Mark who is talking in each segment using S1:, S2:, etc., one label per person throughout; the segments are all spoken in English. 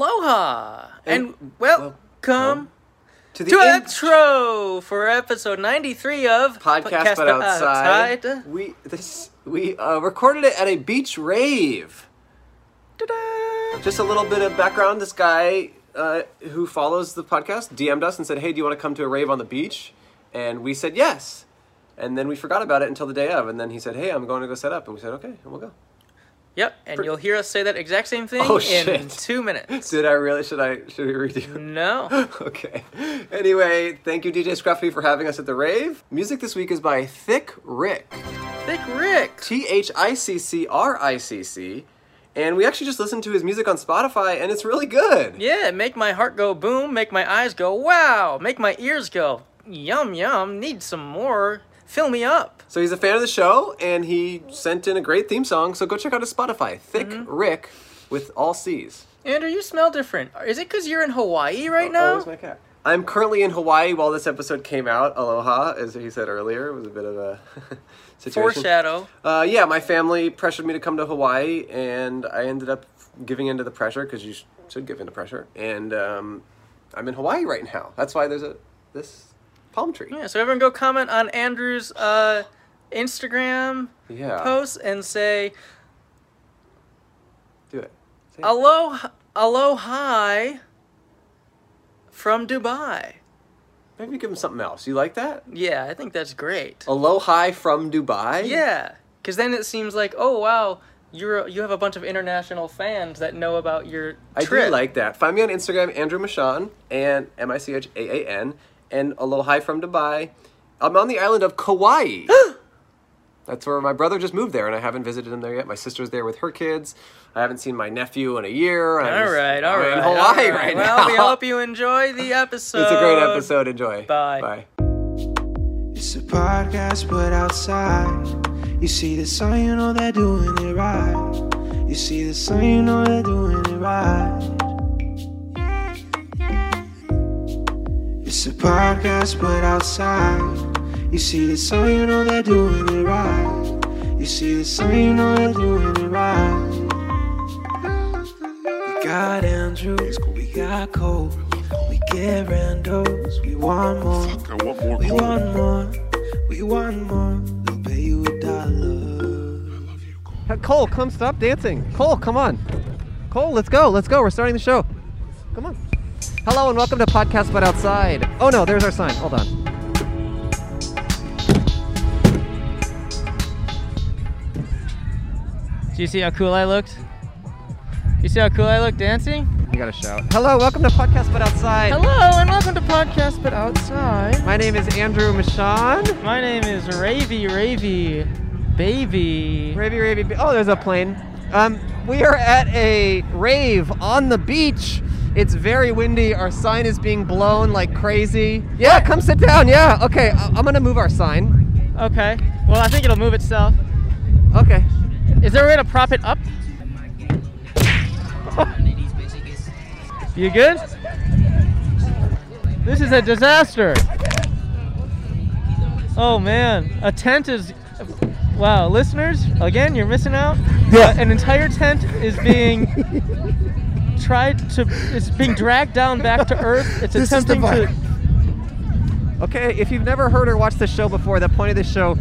S1: Aloha and,
S2: And
S1: welcome,
S2: welcome To the
S1: to
S2: in-
S1: intro for episode 93 of
S2: podcast, but
S1: Podcast
S2: outside.
S1: Outside.
S2: We this we uh, recorded it at a beach rave.
S1: Ta-da.
S2: Just a little bit of background. This guy uh, who follows the podcast DM'd us and said, "Hey, do you want to come to a rave on the beach?" And we said yes. And then we forgot about it until the day of. And then he said, "Hey, I'm going to go set up." And we said, "Okay," and we'll go.
S1: Yep, and you'll hear us say that exact same thing
S2: Oh,
S1: in
S2: shit.
S1: 2 minutes.
S2: Did I really? Should I? Should we redo?
S1: no.
S2: okay. Anyway, thank you, DJ Scruffy, for having us at the rave. Music this week is by Thick Rick.
S1: Thick Rick.
S2: T H I C C R I C C. And we actually just listened to his music on Spotify, and it's really good.
S1: Yeah, make my heart go boom, make my eyes go wow, make my ears go yum yum, need some more, fill me up.
S2: So he's a fan of the show, and he sent in a great theme song. So go check out his Spotify, Thick Rick, with all C's. Oh,
S1: Andrew, you smell different. Is it because you're in Hawaii right now?
S2: where's my cat? I'm currently in Hawaii while this episode came out. Aloha, as he said earlier, it was a bit of a situation.
S1: Foreshadow.
S2: Uh, yeah, my family pressured me to come to Hawaii, and I ended up giving in to the pressure because you sh- should give in to pressure. And um, I'm in Hawaii right now. That's why there's a this palm tree.
S1: Yeah, so everyone go comment on Andrew's uh, Instagram
S2: Yeah,
S1: posts and say
S2: do it. Say it.
S1: aloha, aloha from Dubai.
S2: Maybe give him something else. You like that?
S1: Yeah, I think that's great.
S2: Oh, Aloha from Dubai.
S1: Yeah, because then it seems like oh wow, you're you have a bunch of international fans that know about your
S2: I
S1: trip.
S2: do like that. Find me on Instagram, Andrew Michon, and M I C H A A N, and Aloha from Dubai. I'm on the island of Kauai. That's where my brother just moved there, and I haven't visited him there yet. My sister's there with her kids. I haven't seen my nephew in a year.
S1: All right, all right.
S2: in
S1: all
S2: Hawaii right,
S1: well,
S2: now.
S1: we hope you enjoy the episode.
S2: it's a great episode. Enjoy.
S1: Bye.
S2: Bye.
S3: It's a podcast, but outside. You see the sun, you know they're doing it right. You see the sun, you know they're doing it right. It's a podcast, but outside. You see the sun, you know they're doing it right. You see the sun, you know they're doing it right. We got Andrews, we got Cole, we get randos, we want
S4: I
S3: more.
S4: want more
S3: We
S4: gold.
S3: want more. We want more. They'll pay you a dollar.
S2: Cole, come stop dancing. Cole, come on. Cole, let's go. Let's go. We're starting the show. Come on. Hello and welcome to Podcast But Outside. Oh no, there's our sign. Hold on.
S1: Do you see how cool I looked? You see how cool I looked dancing?
S2: You gotta shout. Hello, welcome to Podcast But Outside.
S1: Hello and welcome to Podcast But Outside.
S2: My name is Andrew Michon.
S1: My name is Ravy Ravy Baby.
S2: Ravy Ravy. Ba- Oh, there's a plane. Um, we are at a rave on the beach. It's very windy. Our sign is being blown like crazy. Yeah, come sit down. Yeah. Okay, I- I'm gonna move our sign.
S1: Okay. Well, I think it'll move itself.
S2: Okay.
S1: Is there a way to prop it up? you good? This is a disaster. Oh man, a tent is. Wow, listeners, again, you're missing out.
S2: Yeah.
S1: an entire tent is being tried to. It's being dragged down back to earth. It's
S2: This is the
S1: attempting to.
S2: Okay, if you've never heard or watched the show before, the point of this show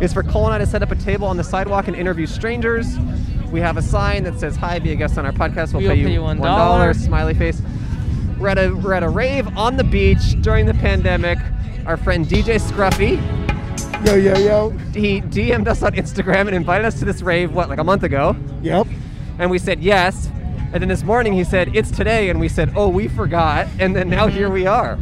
S2: is for Cole and I to set up a table on the sidewalk and interview strangers. We have a sign that says, Hi, be a guest on our podcast. We'll,
S1: We'll pay you
S2: $1.
S1: $1.
S2: Smiley face. We're at, a, we're at a rave on the beach during the pandemic. Our friend DJ Scruffy,
S5: Yo, yo, yo.
S2: he DM'd us on Instagram and invited us to this rave, what, like a month ago?
S5: Yep.
S2: And we said yes. And then this morning he said, It's today. And we said, Oh, we forgot. And then
S1: Mm-hmm.
S2: now here we are.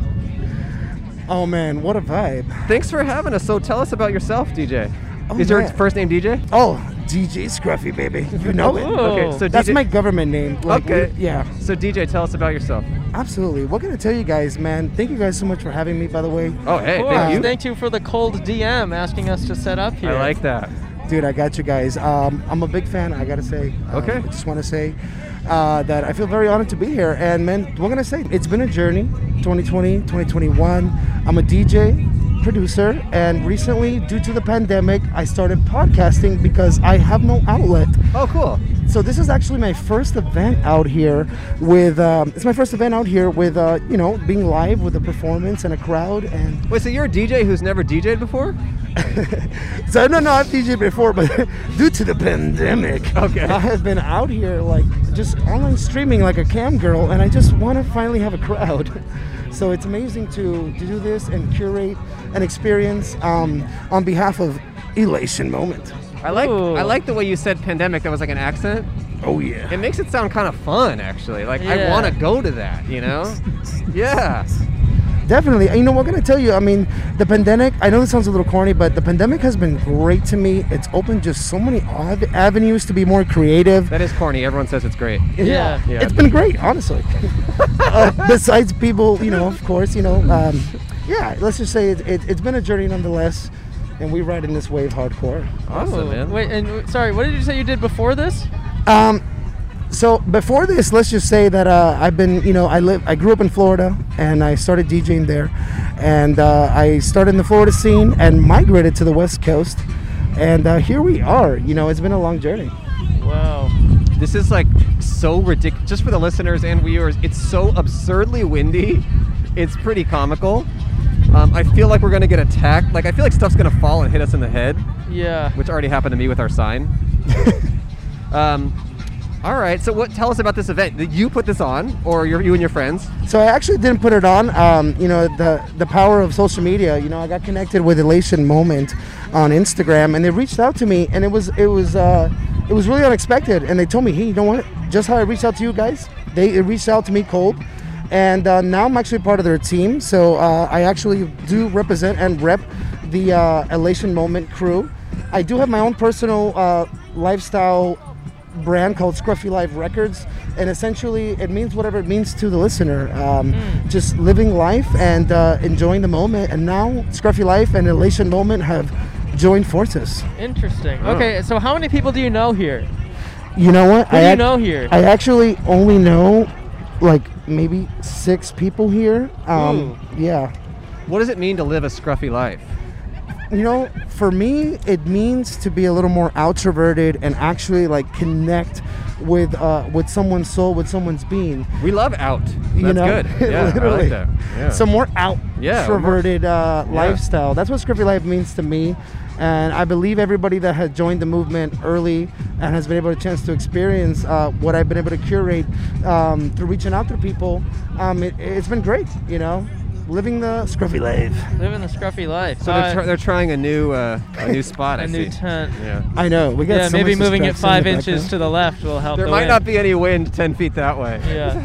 S5: Oh man, what a vibe.
S2: Thanks for having us. So tell us about yourself, DJ.
S5: Oh,
S2: Is your
S5: yeah.
S2: first name DJ?
S5: Oh, DJ Scruffy, baby. You know
S1: Ooh.
S5: it.
S2: Okay, Oh. so
S5: Oh, That's
S2: DJ
S5: my government name. Like,
S2: Okay.
S5: we- Yeah,
S2: So DJ, tell us about yourself.
S5: absolutely. What can I tell you guys, man? Thank you guys so much for having me, by the way.
S2: Oh, hey,
S1: Of course,
S2: thank you.
S1: Thank you for the cold DM asking us to set up here.
S2: I like that.
S5: Dude, I got you guys. Um, I'm a big fan, I gotta say. Um,
S2: Okay.
S5: I just wanna say uh, that I feel very honored to be here. And man, what can I say? It's been a journey 2020, 2021. I'm a DJ. Producer, and recently, due to the pandemic, I started podcasting because I have no outlet.
S2: Oh, cool.
S5: So this is actually my first event out here with. Um, it's my first event out here with uh, you know being live with a performance and a crowd and
S2: Wait, so you're a DJ who's never DJ'd before?
S5: So no, no, I've DJed before, but due to the pandemic,
S2: Okay.
S5: I have been out here like just online streaming like a cam girl, and I just want to finally have a crowd. So it's amazing to, to do this and curate an experience um, on behalf of Elation Moment.
S2: I like
S1: Ooh.
S2: I like the way you said pandemic. That was like an accent.
S5: Oh yeah.
S2: It makes it sound kind of fun, actually. Like I
S1: Yeah.
S2: want to go to that. You know? yeah.
S5: Definitely. You know, we're going to tell you, I mean, the pandemic, I know this sounds a little corny, but the pandemic has been great to me. It's opened just so many odd avenues to be more creative.
S2: That is corny. Everyone says it's great.
S1: Yeah.
S2: Yeah.
S5: It's been great, honestly. uh, besides people, you know, of course, you know, um, yeah, let's just say it, it, it's been a journey nonetheless, and we ride in this wave hardcore.
S2: Awesome,
S1: Ooh,
S2: man.
S1: Oh, Wait, and w- sorry, what did you say you did before this?
S5: Um, so before this, let's just say that uh, I've been, you know, I live, I grew up in Florida, and I started DJing there, and uh, I started in the Florida scene and migrated to the West Coast, and uh, here we are. You know, it's been a long journey.
S1: Wow.
S2: This is like so ridiculous. Just for the listeners and viewers, it's so absurdly windy. It's pretty comical. Um, I feel like we're gonna get attacked. Like I feel like stuff's gonna fall and hit us in the head,
S1: Yeah.
S2: which already happened to me with our sign. um, all right. So what? Tell us about this event. Did you put this on, or you you and your friends?
S5: So I actually didn't put it on. Um, you know, the the power of social media. You know, I got connected with Elation Moment on Instagram, and they reached out to me, and it was it was uh, it was really unexpected. And they told me, hey, you know what? Just how I reached out to you guys, they it reached out to me cold, and uh, now I'm actually part of their team. So uh, I actually do represent and rep the uh, Elation Moment crew. I do have my own personal uh, lifestyle brand called Scruffy Live Records, and essentially it means whatever it means to the listener. Um,
S1: Mm.
S5: Just living life and uh, enjoying the moment. And now Scruffy Life and Elation Moment have joined forces.
S1: Interesting.
S2: Oh.
S1: Okay, so how many people do you know here?
S5: You know what?
S1: Who do you know here?
S5: I actually only know like maybe six people here. Um, yeah.
S2: What does it mean to live a scruffy life?
S5: You know, for me, it means to be a little more outroverted and actually like connect with uh, with someone's soul, with someone's being.
S2: We love out. That's
S5: you know,
S2: good. Yeah, I like
S5: literally.
S2: that. Yeah.
S5: So more out,
S2: Yeah, we're more-
S5: extroverted uh, lifestyle. That's what Scrippy Life means to me, and I believe everybody that has joined the movement early and has been able to chance to experience uh, what I've been able to curate um, through reaching out to people. Um, it, it's been great, you know, living the Scruffy life.
S1: Living the scruffy life.
S2: So they're,
S1: Uh,
S2: try they're trying a new uh, a new spot.
S1: a
S2: I
S1: new
S2: see.
S1: tent.
S2: yeah.
S5: I know we got
S1: Yeah,
S5: so
S1: maybe
S5: much
S1: moving it
S5: distraction
S1: five
S5: in the
S1: inches to
S5: background.
S1: the left will help.
S2: There
S1: the
S2: might
S1: wind.
S2: not be any wind ten feet that way.
S1: Yeah.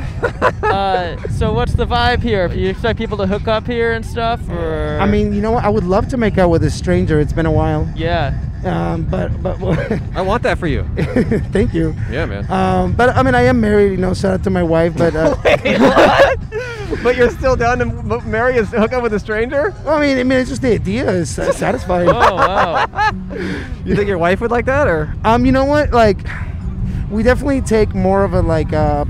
S1: uh, so what's the vibe here? Do you expect people to hook up here and stuff, or?
S5: I mean, you know what? I would love to make out with a stranger. It's been a while,
S1: Yeah.
S5: um, but but
S2: I want that for you.
S5: thank you.
S2: Yeah, man.
S5: Um, but I mean, I am married, you know. Shout out to my wife, but uh,
S2: Oh but you're still down to m- marry a hook up with a stranger?
S5: I mean, I mean, it's just the idea is uh, satisfying.
S1: Oh wow.
S2: You think your wife would like that, or
S5: um, you know what? Like, we definitely take more of a like uh,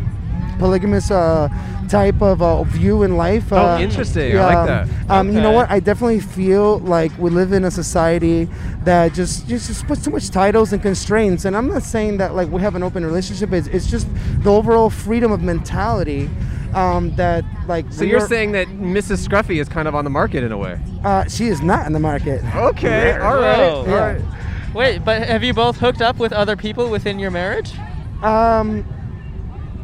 S5: polygamous uh, type of uh, view in life. Uh,
S2: Oh, interesting. I like that.
S5: Um, You know
S1: Okay.
S5: what? I definitely feel like we live in a society that just just, just puts too much titles and constraints. And I'm not saying that like we have an open relationship. It's, it's just the overall freedom of mentality. Um, that like
S2: so? You're saying that Mrs. Scruffy is kind of on the market in a way.
S5: uh, she is not in the market.
S2: Oh, Okay. All
S1: Whoa.
S5: Yeah.
S1: Wait, but have you both hooked up with other people within your marriage?
S5: Um,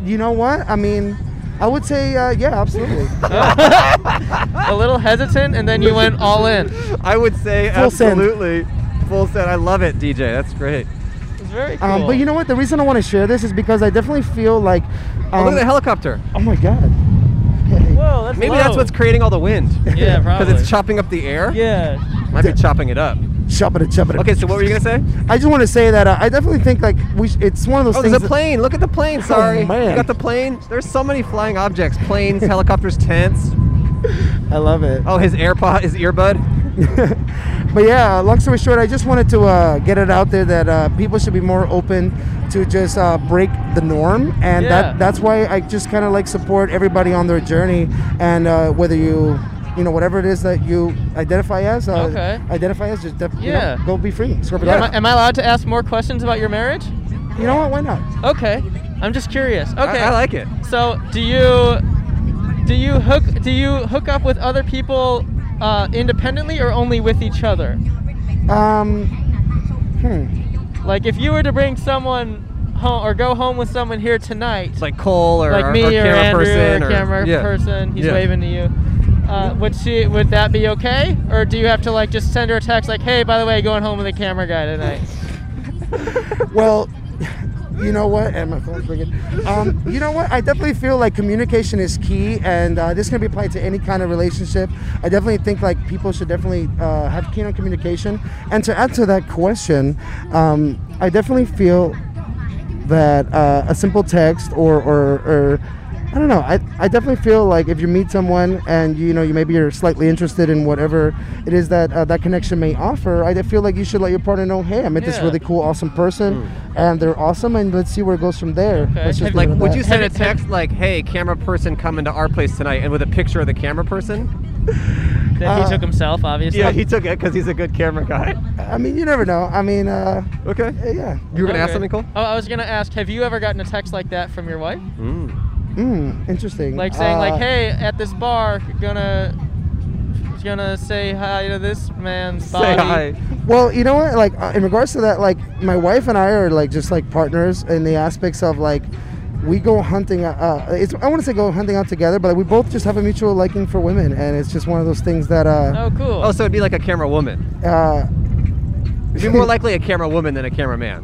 S5: you know what? I mean, I would say uh, yeah, absolutely.
S1: A little hesitant, and then you went all in.
S2: I would say
S5: Full send.
S2: absolutely. Full send. I love it, DJ. That's great.
S1: It's very cool.
S5: um, but you know what? The reason I want to share this is because I definitely feel like,
S2: Oh, look
S5: um,
S2: at the helicopter.
S5: oh my god,
S1: Whoa, that's
S2: Maybe
S1: low.
S2: that's what's creating all the wind.
S1: Yeah, probably.
S2: Because it's chopping up the air.
S1: Yeah.
S2: Might be chopping it up.
S5: choppa da choppa da.
S2: Okay, so what were you gonna say?
S5: I just want to say that uh, I definitely think like we. Sh- it's one of those
S2: Oh,
S5: things.
S2: there's a
S5: that-
S2: plane. Look at the plane. Sorry.
S5: man.
S2: You got the plane. There's so many flying objects. Planes, helicopters, tents.
S5: I love it.
S2: Oh, his AirPod, his earbud.
S5: But yeah, long story short, I just wanted to uh, get it out there that uh, people should be more open to just uh, break the norm, and
S1: Yeah.
S5: that that's why I just kind of like support everybody on their journey, and uh, whether you you know whatever it is that you identify as, uh,
S1: Okay.
S5: identify as, just def- you know,
S1: Yeah.
S5: go be free, scrub it
S1: Am,
S5: out.
S1: I, am I allowed to ask more questions about your marriage?
S5: you know what? Why not?
S1: Okay. I'm just curious. Okay.
S2: I, I like it.
S1: So, do you do you hook do you hook up with other people uh, independently or only with each other?
S5: Um, hmm.
S1: Like, if you were to bring someone home or go home with someone here tonight,
S2: Like Cole or,
S1: like me or,
S2: camera
S1: Andrew
S2: person
S1: or camera
S2: yeah.
S1: person, he's
S2: Yeah.
S1: waving to you. Uh, would she? Would that be okay? Or do you have to like just send her a text like, "Hey, by the way, going home with the camera guy tonight."
S5: Well, you know what? And my phone's ringing. Um, you know what? I definitely feel like communication is key, and uh, this can be applied to any kind of relationship. I definitely think like people should definitely uh, have keen on communication. And to answer that question, um, I definitely feel that uh, a simple text or or. or I don't know. I, I definitely feel like if you meet someone and you know you maybe you're slightly interested in whatever it is that uh, that connection may offer, I feel like you should let your partner know, hey, I met this
S1: Yeah. Hmm.
S5: really cool, awesome person, and they're awesome, and let's see where it goes from there.
S1: Okay.
S5: Let's
S1: Have-
S5: leave
S2: Like,
S5: it at
S2: would
S5: that.
S2: you send a
S1: Have- have-
S2: text like, "Hey, camera person, come into our place tonight," and with a picture of the camera person?
S1: That he took himself, obviously.
S2: Uh, Yeah, he took it because he's a good camera guy.
S5: I mean, you never know. I mean, uh,
S2: Okay.
S5: yeah.
S2: You were gonna ask
S1: Okay.
S2: something, Cole?
S1: Oh, I was gonna ask. Have you ever gotten a text like that from your wife?
S5: Mm, interesting.
S1: Like saying,
S5: Uh,
S1: like, "Hey, at this bar, gonna gonna say hi to this man's body."
S2: Say hi.
S5: Well, you know what? Like uh, in regards to that, like my wife and I are like just like partners in the aspects of like we go hunting. Uh, uh, it's I want to say go hunting out together, but we both just have a mutual liking for women, and it's just one of those things that uh,
S1: Oh, cool.
S2: Oh, so it'd be like a camera woman.
S5: uh
S2: It'd be more likely a camera woman than a camera man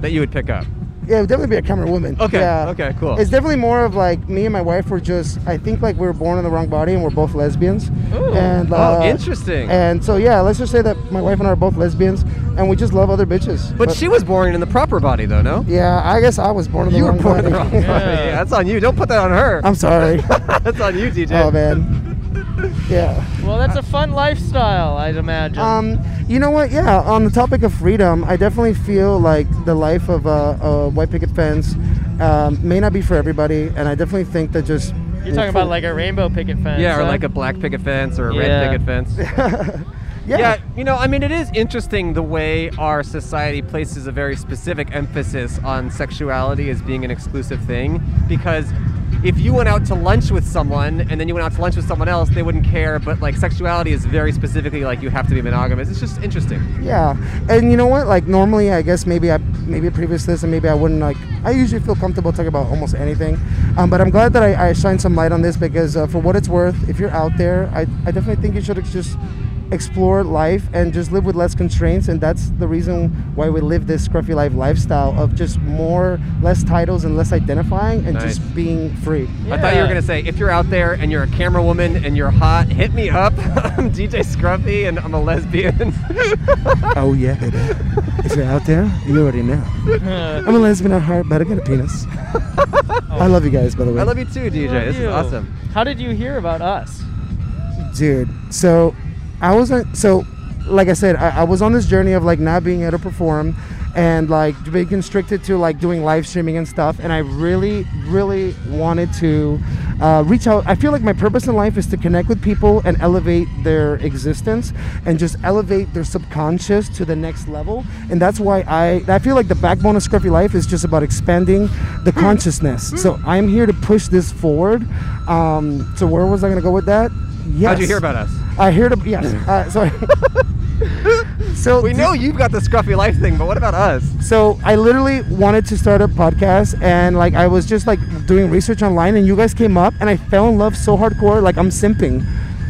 S2: that you would pick up.
S5: Yeah, it would definitely be a camera woman.
S2: Okay,
S5: Yeah.
S2: okay, cool.
S5: It's definitely more of like me and my wife were just. I think like we were born in the wrong body and we're both lesbians.
S1: Ooh.
S5: And,
S2: Oh,
S5: uh,
S2: interesting.
S5: And so yeah, let's just say that my wife and I are both lesbians and we just love other bitches.
S2: but, she was born in the proper body, though, no?
S5: Yeah, I guess I was born in the
S2: You were
S5: wrong
S2: born in
S5: body.
S2: the wrong body.
S1: Yeah.
S2: Yeah, that's on you. Don't put that on her.
S5: I'm sorry.
S2: that's on you, DJ.
S5: oh man. Yeah.
S1: well, that's a fun lifestyle, I'd imagine.
S5: Um, you know what? Yeah, on the topic of freedom, I definitely feel like the life of a, a white picket fence um, may not be for everybody, and I definitely think that just
S1: You're talking about like a rainbow picket fence.
S2: Yeah, or
S1: huh?
S2: like a black picket fence or a
S1: Yeah.
S2: red picket fence.
S5: yeah.
S2: Yeah, you know, I mean, it is interesting the way our society places a very specific emphasis on sexuality as being an exclusive thing. Because if you went out to lunch with someone and then you went out to lunch with someone else, they wouldn't care. But like, sexuality is very specifically like you have to be monogamous. It's just interesting.
S5: Yeah, and you know what? Like normally, I guess maybe I maybe previous to this, and maybe I wouldn't like. I usually feel comfortable talking about almost anything, um, but I'm glad that I, I shine some light on this because uh, for what it's worth, if you're out there, I, I definitely think you should ex- just explore life and just live with less constraints, and that's the reason why we live this scruffy life lifestyle of just more less titles and less identifying and
S2: Nice.
S5: just being free.
S2: I thought you were
S1: Yeah.
S2: gonna say if you're out there and you're a camera woman and you're hot, hit me up. I'm DJ Scruffy and I'm a lesbian.
S5: Oh yeah, baby. If you're out there, you already know. I'm a lesbian at heart, but I got a penis. I love you guys, by the way.
S2: I love you too, DJ.
S1: Love
S2: this
S1: you.
S2: is awesome.
S1: How did you hear about us?
S5: dude so i wasn't so like i said I, I was on this journey of like not being able to perform and like being constricted to like doing live streaming and stuff and i really really wanted to uh, reach out i feel like my purpose in life is to connect with people and elevate their existence and just elevate their subconscious to the next level and that's why i i feel like the backbone of scruffy life is just about expanding the consciousness so i'm here to push this forward um, so where was i going to go with that Yes.
S2: How'd you hear about us?
S5: I heard about yes. Uh, sorry. so
S2: We
S5: thi-
S2: know you've got the Scruffy Life thing, but what about us?
S5: So I literally wanted to start a podcast, and like I was just like doing research online, and you guys came up, and I fell in love so hardcore, like I'm simping.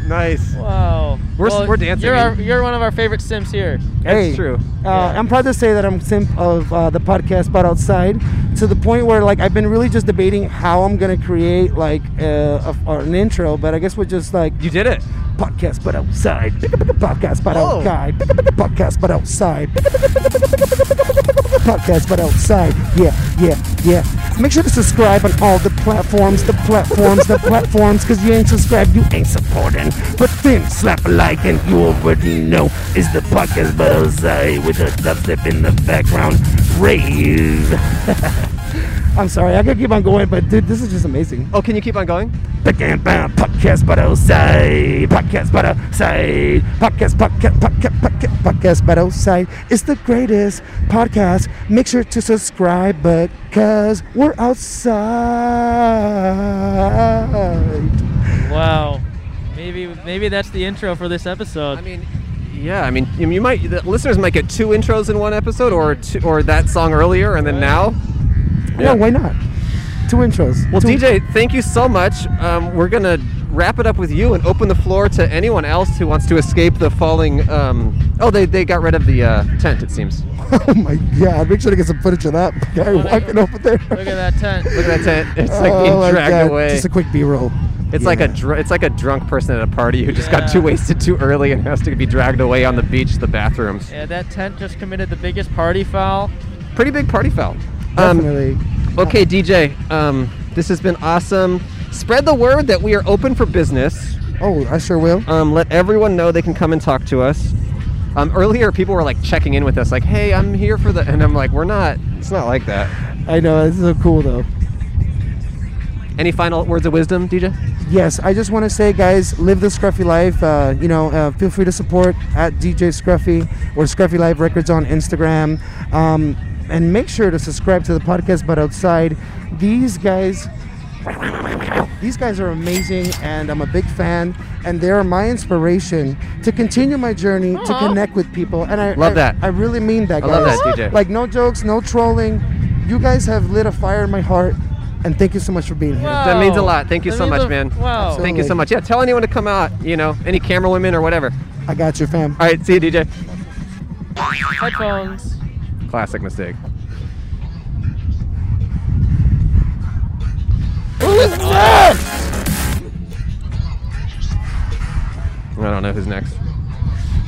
S2: Nice.
S1: Wow.
S2: We're s-
S1: Well,
S2: we're dancing.
S1: You're, our, you're one of our favorite Sims here.
S2: That's
S5: Hey,
S2: true.
S5: Uh, I'm proud to say that I'm simp of uh, the podcast, but outside to the point where like I've been really just debating how I'm gonna create like uh, a, or an intro, but I guess we're just like
S2: You did it.
S5: podcast, but outside podcast, but
S2: Oh.
S5: outside podcast, but outside podcast, but outside. Yeah, yeah, yeah. Make sure to subscribe on all the platforms, the platforms, the platforms, because you ain't subscribed, you ain't supporting. But then slap a like, and you already know it's the podcast, but outside with a dubstep in the background. Rave. I'm sorry, I could keep on going, but dude, this is just amazing.
S2: Oh, can you keep on going?
S5: Bam, bam, podcast, but outside. Podcast, but outside. Podcast, podcast, podcast, podcast, podcast, but outside. It's the greatest podcast. Make sure to subscribe because we're outside.
S6: Wow. Maybe maybe that's the intro for this episode.
S2: I mean, yeah. I mean, you you might the listeners might get two intros in one episode, or two, or that song earlier, and then now.
S5: Yeah, why not? Two intros.
S2: Well,
S5: Two-
S2: DJ, thank you so much. Um, we're gonna wrap it up with you and open the floor to anyone else who wants to escape the falling. Um, oh, they, they got rid of the uh, tent, it seems.
S5: Oh my god, make sure to get some footage of that guy
S6: look
S5: walking
S6: at-
S5: over there.
S6: Look at that tent.
S2: Look at that tent. It's like
S5: Oh
S2: being
S5: my
S2: dragged
S5: God,
S2: away.
S5: Just a quick B roll.
S2: it's like a dr- it's like a drunk person at a party who just got too
S6: Yeah.
S2: wasted too early and has to be dragged away on the beach, to the bathrooms.
S6: Yeah, that tent just committed the biggest party foul.
S2: Pretty big party foul. Um,
S5: Definitely.
S2: okay, DJ. Um, this has been awesome. Spread the word that we are open for business.
S5: oh, I sure will.
S2: um, let everyone know they can come and talk to us. Um, earlier, people were like checking in with us, like, "Hey, I'm here for the," and I'm like, "We're not. It's not like that."
S5: I know, this is so cool though.
S2: Any final words of wisdom, DJ?
S5: Yes, I just want to say, guys, live the Scruffy life. Uh, you know, uh, feel free to support at DJ Scruffy or Scruffy Live Records on Instagram. Um, and make sure to subscribe to the podcast, but outside, these guys. These guys are amazing, and I'm a big fan, and they are my inspiration to continue my journey to connect with people. And I
S2: Love
S5: I-
S2: that.
S5: I really mean that.
S2: I
S5: Guys.
S2: love that, DJ.
S5: Like no jokes, no trolling. You guys have lit a fire in my heart, and thank you so much for being here.
S2: That means a
S6: Wow.
S2: lot. Thank you
S6: Oh. That
S2: so
S6: means
S2: much,
S6: a-
S2: man.
S6: Wow.
S5: Absolutely.
S2: Thank you so much. Yeah, tell anyone to come out. You know, any camera women or whatever.
S5: I got you, fam.
S2: All right, see you, DJ.
S6: Headphones.
S2: Classic mistake. I don't know who's next.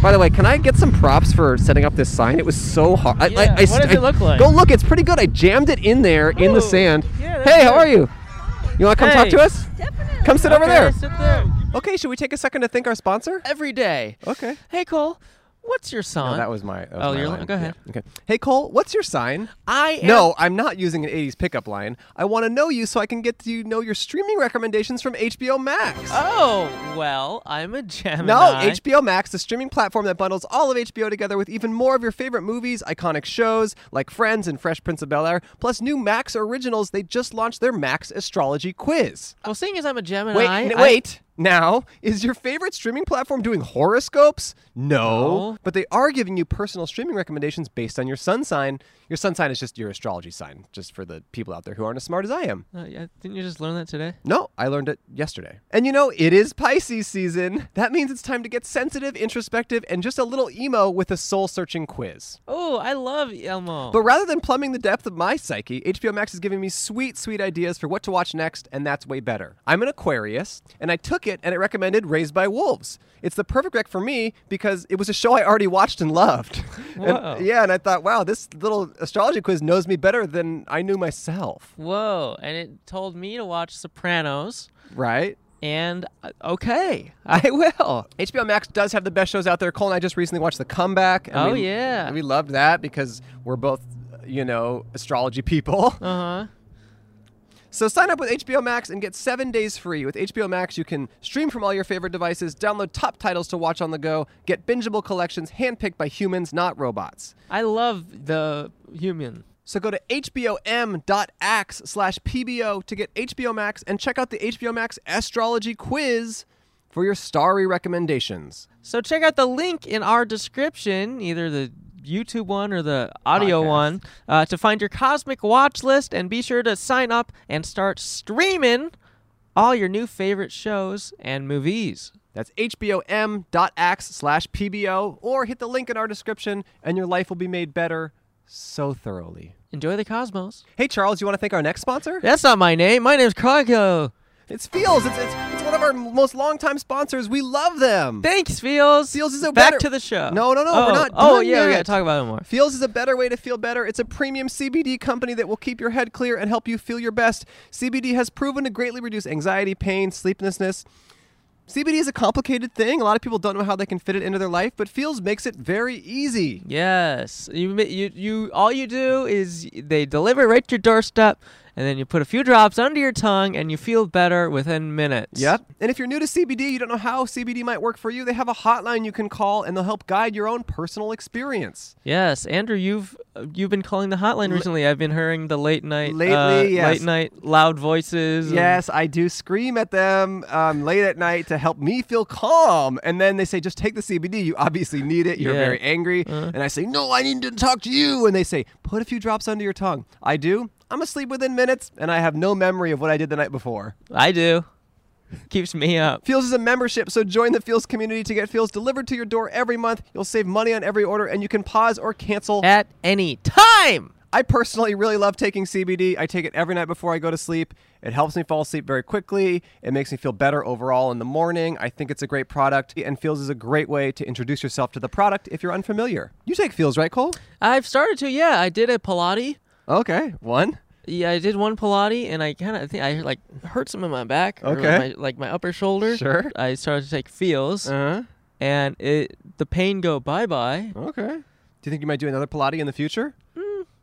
S2: By the way, can I get some props for setting up this sign? It was so hard. I,
S6: Yeah, what does it look like?
S2: Go look. It's pretty good. I jammed it in there in
S6: Ooh,
S2: the sand.
S6: yeah, that's
S2: hey, how
S6: good.
S2: are you? You want to come talk
S6: Hey.
S2: to us?
S7: Definitely.
S2: Come sit over
S6: Okay, Uh,
S2: there.
S6: Sit there.
S2: Okay, should we take a second to thank our sponsor?
S1: Every day.
S2: Okay.
S1: Hey, Cole, what's your song?
S2: No, that was my. That was
S1: Oh,
S2: my
S1: you're-
S2: line.
S1: go ahead.
S2: Yeah, Okay. Hey Cole, what's your sign?
S1: I am-
S2: No, I'm not using an '80s pickup line. I want to know you so I can get to know your streaming recommendations from HBO Max.
S1: Oh, well, I'm a Gemini.
S2: no, HBO Max, the streaming platform that bundles all of HBO together with even more of your favorite movies, iconic shows like Friends and Fresh Prince of Bel Air, plus new Max originals. They just launched their Max Astrology Quiz.
S1: Well, seeing as I'm a Gemini.
S2: Wait,
S1: I-
S2: n- wait. Now, is your favorite streaming platform doing horoscopes? No.
S1: No.
S2: But they are giving you personal streaming recommendations based on your sun sign. Your sun sign is just your astrology sign, just for the people out there who aren't as smart as I am.
S1: Uh, yeah, didn't you just learn that today?
S2: No, I learned it yesterday. And you know, it is Pisces season. That means it's time to get sensitive, introspective, and just a little emo with a soul searching quiz.
S1: Oh, I love Elmo.
S2: But rather than plumbing the depth of my psyche, HBO Max is giving me sweet, sweet ideas for what to watch next, and that's way better. I'm an Aquarius, and I took it and it recommended Raised by Wolves. It's the perfect rec for me because it was a show I already watched and loved. And-
S1: Wow.
S2: yeah, and I thought, wow, this little astrology quiz knows me better than I knew myself,
S1: Whoa, and it told me to watch Sopranos,
S2: right?
S1: and uh, okay.
S2: I will. HBO Max does have the best shows out there. Cole and I just recently watched The Comeback. and
S1: Oh, yeah.
S2: We loved that because we're both, you know, astrology people.
S1: Uh huh.
S2: So sign up with HBO Max and get seven days free. With HBO Max, you can stream from all your favorite devices, download top titles to watch on the go, get bingeable collections handpicked by humans, not robots.
S1: I love the human.
S2: So go to hbom.ax slash pbo to get HBO Max and check out the HBO Max Astrology Quiz for your starry recommendations.
S1: So check out the link in our description, either the YouTube one or the audio
S2: Podcast.
S1: one, uh, to find your cosmic watch list and be sure to sign up and start streaming all your new favorite shows and movies.
S2: That's hbom.ax slash pbo or hit the link in our description and your life will be made better so thoroughly.
S1: Enjoy the cosmos.
S2: Hey, Charles, you want to thank our next sponsor?
S1: That's not my name. My name's Cargo.
S2: It's Feels. It's, it's, it's one of our most longtime sponsors. We love them.
S1: Thanks, Feels.
S2: Feels is a
S1: Back
S2: better-
S1: to the show.
S2: No, no, no,
S1: Oh,
S2: we're not
S1: Oh,
S2: done
S1: yeah, we
S2: yet.
S1: gotta talk about it more.
S2: Feels is a better way to feel better. It's a premium CBD company that will keep your head clear and help you feel your best. CBD has proven to greatly reduce anxiety, pain, sleeplessness. CBD is a complicated thing. A lot of people don't know how they can fit it into their life, but Feels makes it very easy.
S1: Yes, you, ma- you you all you do is they deliver right to your doorstep, and then you put a few drops under your tongue, and you feel better within minutes.
S2: Yep. And if you're new to CBD, you don't know how CBD might work for you, they have a hotline you can call and they'll help guide your own personal experience.
S1: Yes, Andrew, you've uh, you've been calling the hotline recently. I've been hearing the late night,
S2: Lately,
S1: uh,
S2: yes.
S1: late night loud voices. and-
S2: Yes, I do scream at them um, late at night to help me feel calm. And then they say, just take the CBD. You obviously need it. You're
S1: Yeah.
S2: very angry. And I say, no, I need to talk to you. And they say, put a few drops under your tongue. I do. I'm asleep within minutes and I have no memory of what I did the night before.
S1: I do. Keeps me up.
S2: Feels is a membership, so join the Feels community to get Feels delivered to your door every month. You'll save money on every order and you can pause or cancel
S1: at any time.
S2: I personally really love taking CBD. I take it every night before I go to sleep. It helps me fall asleep very quickly. It makes me feel better overall in the morning. I think it's a great product, and Feels is a great way to introduce yourself to the product if you're unfamiliar. You take Feels, right, Cole?
S1: I've started to, yeah. I did a Pilates.
S2: Okay, one.
S1: Yeah, I did one Pilates, and I kind of think I like hurt some in my back. or, like,
S2: Okay.
S1: my- like my upper shoulder.
S2: Sure.
S1: I started to take feels,
S2: Uh
S1: and it the pain go bye bye.
S2: huh. Okay. Do you think you might do another Pilates in the future?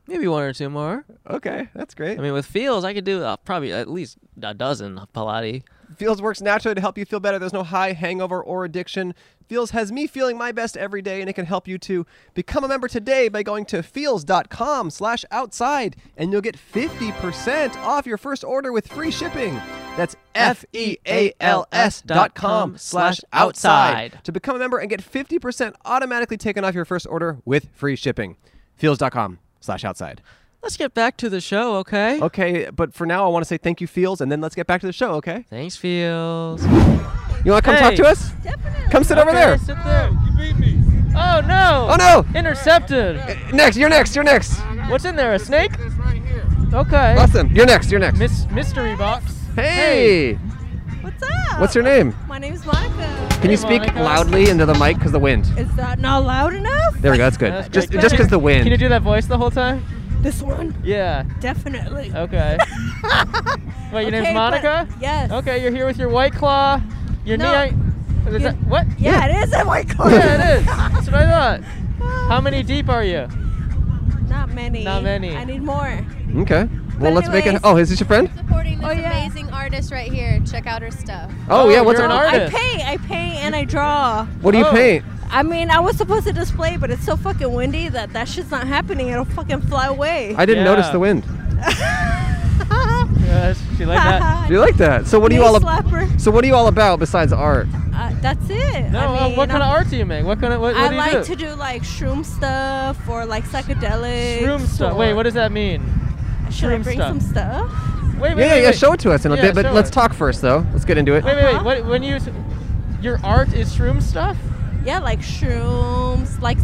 S1: Maybe one or two more.
S2: Okay, that's great.
S1: I mean, with feels, I could do uh, probably at least a dozen of Pilates.
S2: Feels works naturally to help you feel better. There's no high hangover or addiction. Feels has me feeling my best every day, and it can help you to become a member today by going to feels.com slash outside, and you'll get 50% off your first order with free shipping. That's E F-E-A-L-S dot com slash outside to become a member and get 50% automatically taken off your first order with free shipping. Feels.com slash outside.
S1: Let's get back to the show, okay?
S2: Okay, but for now, I want to say thank you, Feels, and then let's get back to the show, okay?
S1: Thanks, feels.
S2: You want to come talk
S1: Hey.
S2: to us? Come sit over there.
S1: Sit there. You beat me. Oh no!
S2: Oh no!
S1: Intercepted.
S2: Next, you're next, you're next.
S1: What's in there? A snake? Okay.
S2: Awesome. You're next, you're next.
S1: Miss mystery box.
S2: Hey!
S7: What's up?
S2: What's your name?
S7: My name's Monica.
S2: Can you speak
S1: Monica.
S2: loudly into the mic because the wind?
S7: Is that not loud enough?
S2: There we go, that's good.
S1: That's
S2: just
S1: good.
S2: just because the wind.
S1: Can you do that voice the whole time?
S7: This one,
S1: Yeah.
S7: definitely.
S1: Okay. Wait, Uh, your
S7: Okay,
S1: name's
S7: but-
S1: Monica?
S7: yes.
S1: Okay, you're here with your white claw. Your
S7: No.
S1: neon. Is that, what?
S7: Yeah, it is Oh a white color.
S1: Yeah, it is. That's what I thought. How many deep are you?
S7: Not many.
S1: Not many.
S7: I need more.
S2: Okay. Well,
S7: But
S2: let's make it.
S7: anyways-
S2: Oh, is this your friend?
S8: supporting this
S7: Oh, yeah.
S8: amazing artist right here. Check out her stuff.
S2: Oh,
S1: Oh,
S2: yeah. What's
S1: you're
S2: up?
S1: an
S7: I
S1: artist.
S7: paint, I paint, and I draw.
S2: What do you
S1: Oh.
S2: paint?
S7: I mean, I was supposed to display, but it's so fucking windy that that shit's not happening. It'll fucking fly away.
S2: I didn't notice
S1: Yeah.
S2: the wind.
S1: Yes, Uh, she like that.
S2: Do you like that? So what are you all? Ab-
S7: slapper.
S2: so what are you all about besides art?
S7: Uh, that's it.
S1: No,
S7: I
S1: uh,
S7: mean,
S1: what kind
S7: I'm-
S1: of art do you make? What kind of what, what
S7: I
S1: do you
S7: like
S1: do?
S7: to do like shroom stuff or like psychedelics.
S1: Shroom stuff. Wait, what does that mean?
S7: Should I
S1: shroom
S7: bring
S1: stuff?
S7: some stuff?
S1: Wait, wait,
S2: yeah, yeah,
S1: wait,
S2: yeah.
S1: wait.
S2: Show it to us in a
S1: Yeah,
S2: bit, but
S1: show
S2: let's
S1: it.
S2: talk first, though. Let's get into it.
S1: Wait, wait, wait.
S7: Uh-huh.
S1: What, when you, s- your art is shroom stuff?
S7: Yeah, like shrooms, like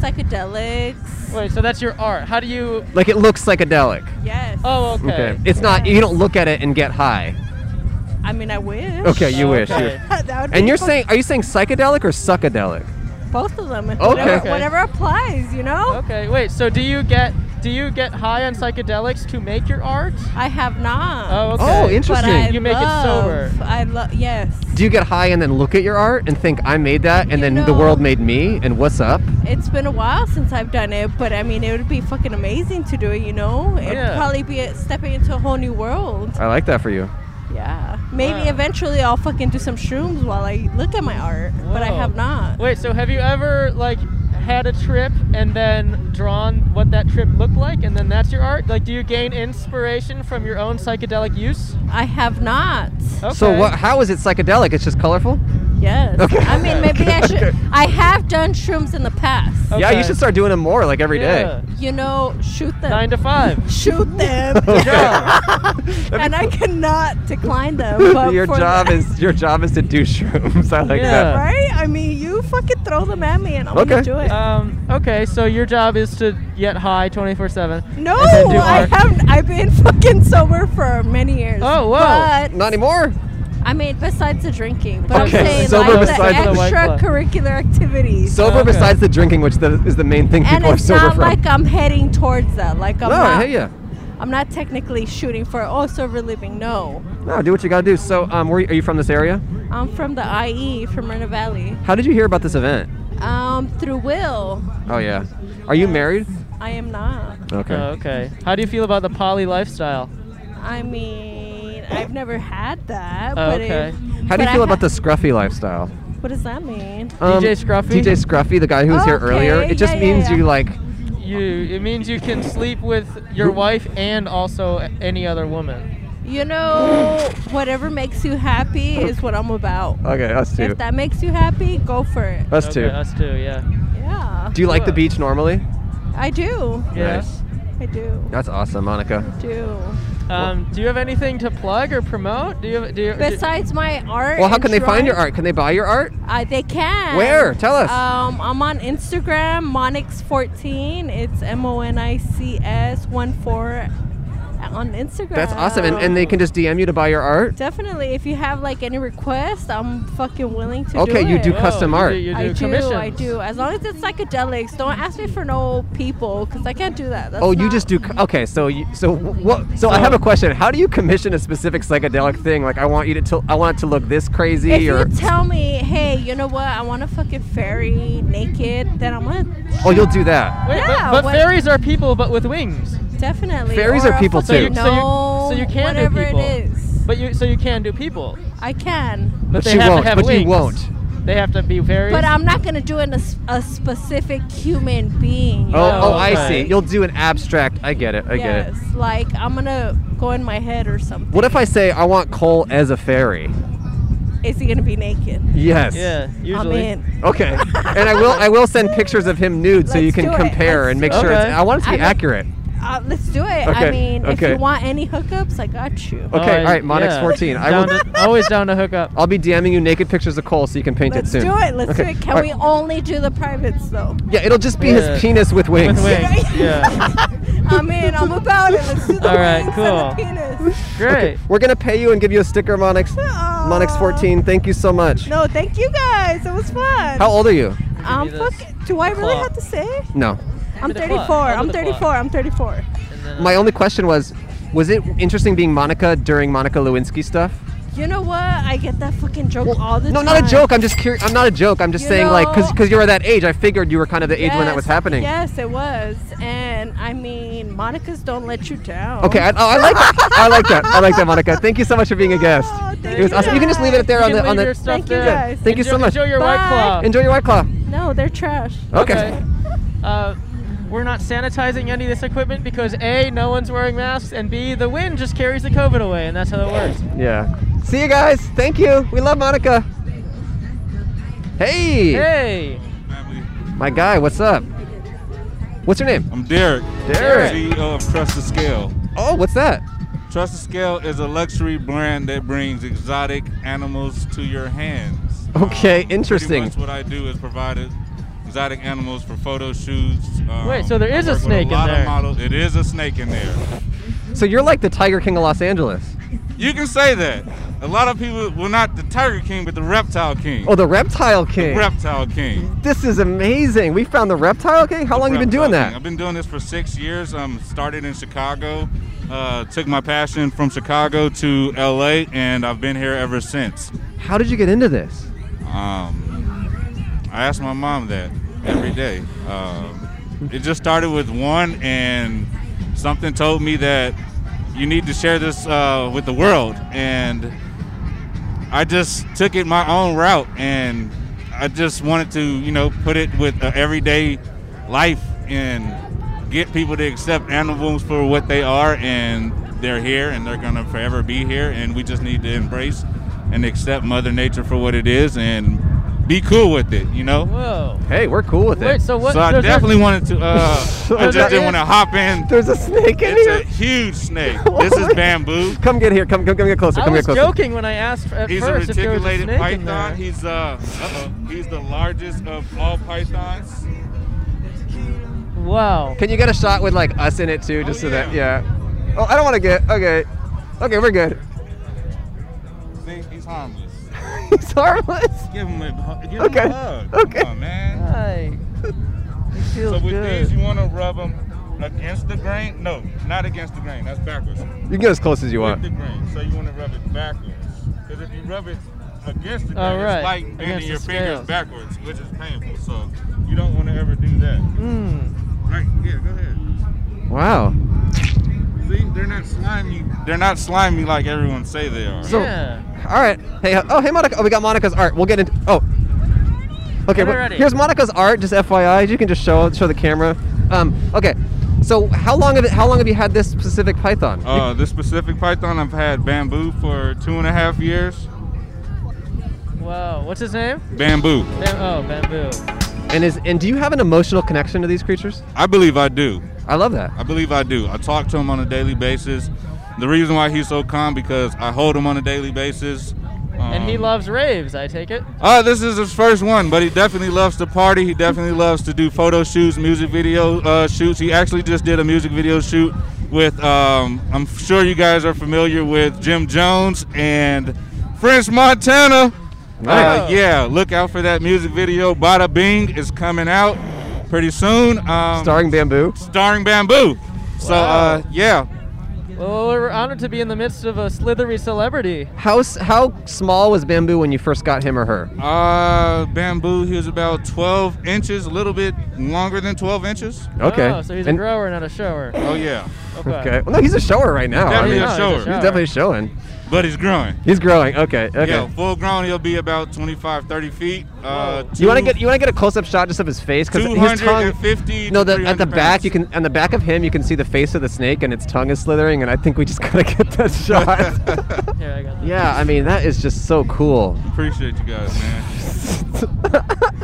S7: psychedelics.
S1: Wait, so that's your art. How do you?
S2: Like it looks psychedelic.
S7: Yes.
S1: Oh, okay.
S2: It's not. You don't look at it and get high.
S7: I mean, I wish.
S2: Okay. You wish.
S1: Okay.
S2: you-
S7: that would be
S2: And you're
S7: fun-
S2: saying? Are you saying psychedelic or suckadelic?
S7: both of them. Whatever,
S2: Okay.
S7: whatever applies, you know.
S1: Okay. Wait. So do you get do you get high on psychedelics to make your art?
S7: I have not.
S1: Oh, okay.
S2: Oh,
S7: But
S2: interesting.
S7: I
S1: You make it
S7: love-
S1: sober.
S7: I love. Yes.
S2: Do you get high and then look at your art and think I made that and
S7: You
S2: then the
S7: know-
S2: world made me and what's up?
S7: It's been a while since I've done it, but I mean, it would be fucking amazing to do it. You know, it'd
S1: Yeah.
S7: probably be a, stepping into a whole new world.
S2: I like that for you.
S7: Yeah. Maybe
S1: Wow.
S7: eventually I'll fucking do some shrooms while I look at my art, but I
S1: Whoa.
S7: have not.
S1: Wait. So have you ever like had a trip and then drawn what that trip looked like, and then that's your art? Like, do you gain inspiration from your own psychedelic use?
S7: I have not.
S1: Okay.
S2: So what? How is it psychedelic? It's just colorful.
S7: Yes.
S2: Okay.
S7: I mean, maybe I should.
S2: Okay. Oh.
S7: I have done shrooms in the past.
S1: Okay.
S2: Yeah, you should start doing them more, like every day.
S1: Yeah.
S7: You know, shoot them.
S1: Nine to five.
S7: shoot them.
S1: Yeah.
S7: and I cannot decline them. But
S2: your
S7: for
S2: job
S7: the-
S2: is your job is to do shrooms. I like
S1: Yeah.
S2: that.
S7: Right? I mean, you fucking throw them at me and I'm
S2: Okay.
S7: gonna do it.
S1: um. Okay. So your job is to get high 24/7.
S7: no,
S1: and then do
S7: I
S1: art.
S7: haven't. I've been fucking sober for many years.
S1: Oh, whoa.
S7: But
S2: Not anymore.
S7: I mean, besides the drinking, but
S2: Okay,
S7: I'm saying
S2: sober
S7: like the
S2: besides
S1: the white club.
S7: extracurricular activities.
S2: Sober
S1: Okay.
S2: besides the drinking, which the, is the main thing
S7: and
S2: people are
S7: it's
S2: sober
S7: not
S2: from.
S7: like I'm heading towards that. Like I'm
S2: no,
S7: not.
S2: hey, yeah.
S7: I'm not technically shooting for oh sober living. No,
S2: No, do what you gotta do. So, um, where, are you from this area?
S7: I'm from the IE from Moreno Valley.
S2: How did you hear about this event?
S7: Um, through Will,
S2: Oh yeah. Are you married?
S7: I am not.
S2: Okay.
S7: Uh,
S1: Oh, okay. How do you feel about the poly lifestyle?
S7: I mean, I've never had that.
S6: Oh,
S7: but
S6: okay.
S7: If,
S2: How do you feel about the scruffy lifestyle?
S7: What does that mean?
S2: Um,
S6: DJ Scruffy?
S2: DJ Scruffy, the guy who was here
S7: Okay,
S2: earlier. It just
S7: yeah, yeah,
S2: means
S7: yeah.
S2: you like.
S1: You. It means you can sleep with your wife and also any other woman.
S7: You know, whatever makes you happy is what I'm about.
S2: Okay, us two.
S7: If that makes you happy, go for it.
S2: Us
S1: okay,
S2: two.
S1: Us two. Yeah.
S7: Yeah.
S2: Uh, Do you like the
S1: Sure.
S2: beach normally?
S7: I do.
S1: Yeah.
S2: Nice.
S7: I do.
S2: That's awesome, Monica.
S7: I do.
S1: Um, do you have anything to plug or promote? Do you? have- Do you? do-
S7: Besides my art.
S2: Well, how
S7: and
S2: can they find your
S7: drawing,
S2: art? Can they buy your art?
S7: Uh, they can.
S2: Where? Tell us.
S7: Um, I'm on Instagram, Monix14. It's M O N I C S 1 4 on Instagram.
S2: That's awesome. And, and they can just DM you to buy your art?
S7: Definitely, if you have like any requests, I'm fucking willing to.
S2: Okay,
S7: do
S2: you
S7: it.
S2: do
S1: Oh,
S2: custom
S1: you
S2: art.
S1: you
S7: I do,
S1: commissions.
S7: I do. As long as it's psychedelics, don't ask me for no people, cause I can't do that. That's
S2: Oh, you
S7: not-
S2: just do. co- Okay, so you, so wh- what? So, I have a question. How do you commission a specific psychedelic thing? Like, I want you to, til- I want it to look this crazy,
S7: If
S2: or
S7: you tell me, hey, you know what? I want a fucking fairy naked. Then I'm gonna
S2: oh, you'll do that.
S1: Wait,
S7: Yeah,
S1: but, but
S7: what-
S1: fairies are people, but with wings.
S7: definitely.
S2: Fairies
S7: or
S2: are
S7: a
S2: people
S7: fucking
S2: too.
S1: So you- so you-
S7: No,
S1: so you can do
S7: whatever
S1: people.
S7: it is.
S1: But you, so you can do people.
S7: I can,
S1: But, they
S2: you
S1: have
S2: won't.
S1: to have
S2: but
S1: wings.
S2: you won't.
S1: They have to be fairies.
S7: but I'm not gonna do it in a, s- a specific human being. you
S2: Oh,
S7: know?
S2: oh, I
S1: okay.
S2: see. You'll do an abstract. I get it. I get it.
S7: yes, like I'm gonna go in my head or something.
S2: What if I say I want Cole as a fairy?
S7: Is he gonna be naked?
S2: Yes.
S1: yeah,
S7: I'm
S1: usually.
S7: in.
S2: Okay. and I will. I will send pictures of him nude so
S7: Let's
S2: you can
S7: do it.
S2: compare
S7: Let's
S2: and
S7: do
S2: make
S1: it.
S2: sure. It's,
S1: Okay.
S2: I want it to be
S7: I mean-
S2: accurate.
S7: Uh, let's do it.
S2: Okay,
S7: I mean, if
S2: okay.
S7: you want any hookups, I got you.
S2: Okay. all right. Monix
S1: Oh, yeah.
S2: 14. I will.
S1: Down to- always down to hook up.
S2: I'll be DMing you naked pictures of Cole so you can paint
S7: Let's
S2: it soon.
S7: do it. Let's do
S2: Okay,
S7: it. Can
S2: all
S7: we
S2: right.
S7: only do the privates though?
S2: Yeah, it'll just be
S1: Yeah.
S2: his penis with wings.
S1: With wings. Yeah.
S7: I'm in. I'm about it. Let's do the
S1: All right,
S7: wings and the penis.
S1: Great.
S2: We're gonna pay you and give you a sticker, Monix.
S7: Aw.
S2: Monix 14. Thank you so much.
S7: No, thank you guys. It was fun.
S2: How old are you?
S7: I'm
S1: Give me this
S7: fucking. Do I really
S1: clock.
S7: have to say?
S2: No.
S7: I'm
S1: the clock.
S7: 34. I'm
S1: Under the
S7: 34.
S1: clock.
S7: I'm 34.
S2: My only question was, was it interesting being Monica during Monica Lewinsky stuff?
S7: You know what? I get that fucking joke all the
S2: no,
S7: time.
S2: not a joke. I'm just curious. I'm not a joke. I'm just
S7: You
S2: saying, like, because
S7: know-
S2: because you were that age, I figured you were kind of the age when that was
S7: Yes,
S2: happening.
S7: Yes, it was. And I mean, Monica's don't let you down.
S2: Okay. I, oh, I like that. I like that. I like that, Monica. Thank you so much for being a guest.
S7: Oh, thank
S2: it was
S7: you
S2: awesome. You can just leave it there
S1: You
S2: on
S1: can
S2: the on
S1: leave
S2: the.
S1: your stuff
S7: Thank you
S1: there.
S7: guys.
S2: Thank you
S1: enjoy,
S2: so much.
S1: Enjoy your white
S7: Bye.
S1: claw.
S2: Enjoy your white claw.
S7: No, they're trash.
S2: Okay.
S1: Uh, we're not sanitizing any of this equipment because A, no one's wearing masks, and B, the wind just carries the COVID away, and that's how it works.
S2: Yeah. See you guys. Thank you. We love Monica. Hey.
S1: Hey!
S9: Family.
S2: My guy, what's up? What's your name?
S9: I'm Derek,
S2: Derek.
S9: CEO of Trust the Scale.
S2: Oh, what's that?
S9: Trust the Scale is a luxury brand that brings exotic animals to your hands. Um,
S2: Okay,
S9: Pretty
S2: interesting.
S9: much what I do is provide exotic animals for photo shoots. Um,
S1: Wait, so there
S9: I
S1: is a
S9: work with
S1: snake in
S9: lot of
S1: there.
S9: models. It is a snake in there.
S2: So you're like the Tiger King of Los Angeles.
S9: You can say that. A lot of people, well, not the Tiger King, but the Reptile King.
S2: Oh, the Reptile King.
S9: Reptile King.
S2: This is amazing. We found the Reptile King. How long you been
S9: Reptile
S2: doing
S9: King.
S2: that?
S9: I've been doing this for six years. Um, started in Chicago, uh, took my passion from Chicago to LA, and I've been here ever since.
S2: How did you get into this?
S9: Um, I ask my mom that every day. Um, it just started with one, and something told me that you need to share this uh, with the world. And I just took it my own route, and I just wanted to, you know, put it with uh, everyday life and get people to accept animals for what they are, and they're here, and they're gonna forever be here, and we just need to embrace and accept Mother Nature for what it is, and be cool with it, you know.
S1: Whoa.
S2: Hey, we're cool with
S1: Wait,
S2: it.
S1: so what?
S9: so I
S1: there's a-
S9: definitely wanted to. Uh, I
S2: there
S9: just didn't
S1: is-
S9: want to hop in.
S2: There's a snake in
S9: It's
S2: here.
S9: a huge snake. This is bamboo.
S2: Come get here. Come, come, come get closer.
S1: I
S2: Come
S1: was
S2: get closer.
S1: joking when I asked at
S9: He's a
S1: first if there was a
S9: reticulated
S1: snake in there.
S9: python. He's uh, uh he's the largest of all pythons.
S1: wow.
S2: Can you get a shot with like us in it too, just so
S9: yeah.
S2: that yeah? Oh, I don't want to get. Okay, okay, we're good.
S9: See, he's harmless.
S2: He's harmless.
S9: Give him a, hu- give
S2: Okay.
S9: him a hug.
S2: Okay.
S9: Come on, man.
S1: Hi. Ah, It
S9: So
S1: feels
S9: with these,
S1: good.
S9: you want to rub them against the grain? No, not against the grain. That's backwards.
S2: You can get as close as you
S9: With
S2: want.
S9: the grain. So you want to rub it backwards. Because if you rub it against the grain,
S1: All right.
S9: it's like
S1: Against
S9: bending your
S1: the
S9: fingers
S1: scales.
S9: backwards, which is painful. So you don't want to ever do that.
S1: Mm.
S9: Right? Yeah, go ahead.
S2: Wow.
S9: See, they're not slimy. They're not slimy like everyone say they are.
S2: So,
S6: Yeah.
S2: all right. Hey, uh, oh, hey, Monica. Oh, we got Monica's art. We'll get into. Oh. Okay.
S6: Ready,
S2: well,
S6: ready.
S2: here's Monica's art. Just FYI, you can just show show the camera. Um. Okay. So, how long have it, how long have you had this specific python?
S9: Uh, this specific python, I've had bamboo for two and a half years.
S6: Whoa. What's his name?
S9: Bamboo.
S6: Bam- oh, Bamboo.
S2: and is and do you have an emotional connection to these creatures?
S9: I believe I do.
S2: I love that.
S9: I believe I do. I talk to him on a daily basis. The reason why he's so calm because I hold him on a daily basis.
S6: And he
S9: Um,
S6: loves raves, I take it.
S9: Uh, this is his first one, but he definitely loves to party. He definitely loves to do photo shoots, music video uh, shoots. He actually just did a music video shoot with, um, I'm sure you guys are familiar with Jim Jones and French Montana. Uh,
S2: Nice.
S9: yeah, look out for that music video. Bada Bing is coming out pretty soon. Um,
S2: Starring bamboo.
S9: starring Bamboo. So, uh, yeah,
S6: Well, we're honored to be in the midst of a slithery celebrity.
S2: How s- how small was bamboo when you first got him or her?
S9: uh, Bamboo, he was about 12 inches, a little bit longer than 12 inches.
S2: Okay.
S6: Oh, so he's
S2: And-
S6: a grower, not a shower.
S9: Oh, yeah.
S6: Okay.
S2: Okay. Well, no, he's a shower right now. I
S9: Definitely
S2: mean,
S9: a
S6: he's
S9: shower.
S6: shower.
S2: he's definitely showing.
S9: But he's growing.
S2: He's growing. Okay. Okay.
S9: Yeah, full grown, he'll be about 25, 30 feet. Uh,
S2: You want to
S9: two-
S2: get you want to get a close up shot just of his face because his tongue.
S9: 250 to
S2: No, the, at the
S9: 300
S2: back
S9: pounds.
S2: you can on the back of him you can see the face of the snake and its tongue is slithering and I think we just gotta get that shot.
S6: Here, I got that.
S2: yeah, I mean that is just so cool.
S9: Appreciate you guys, man.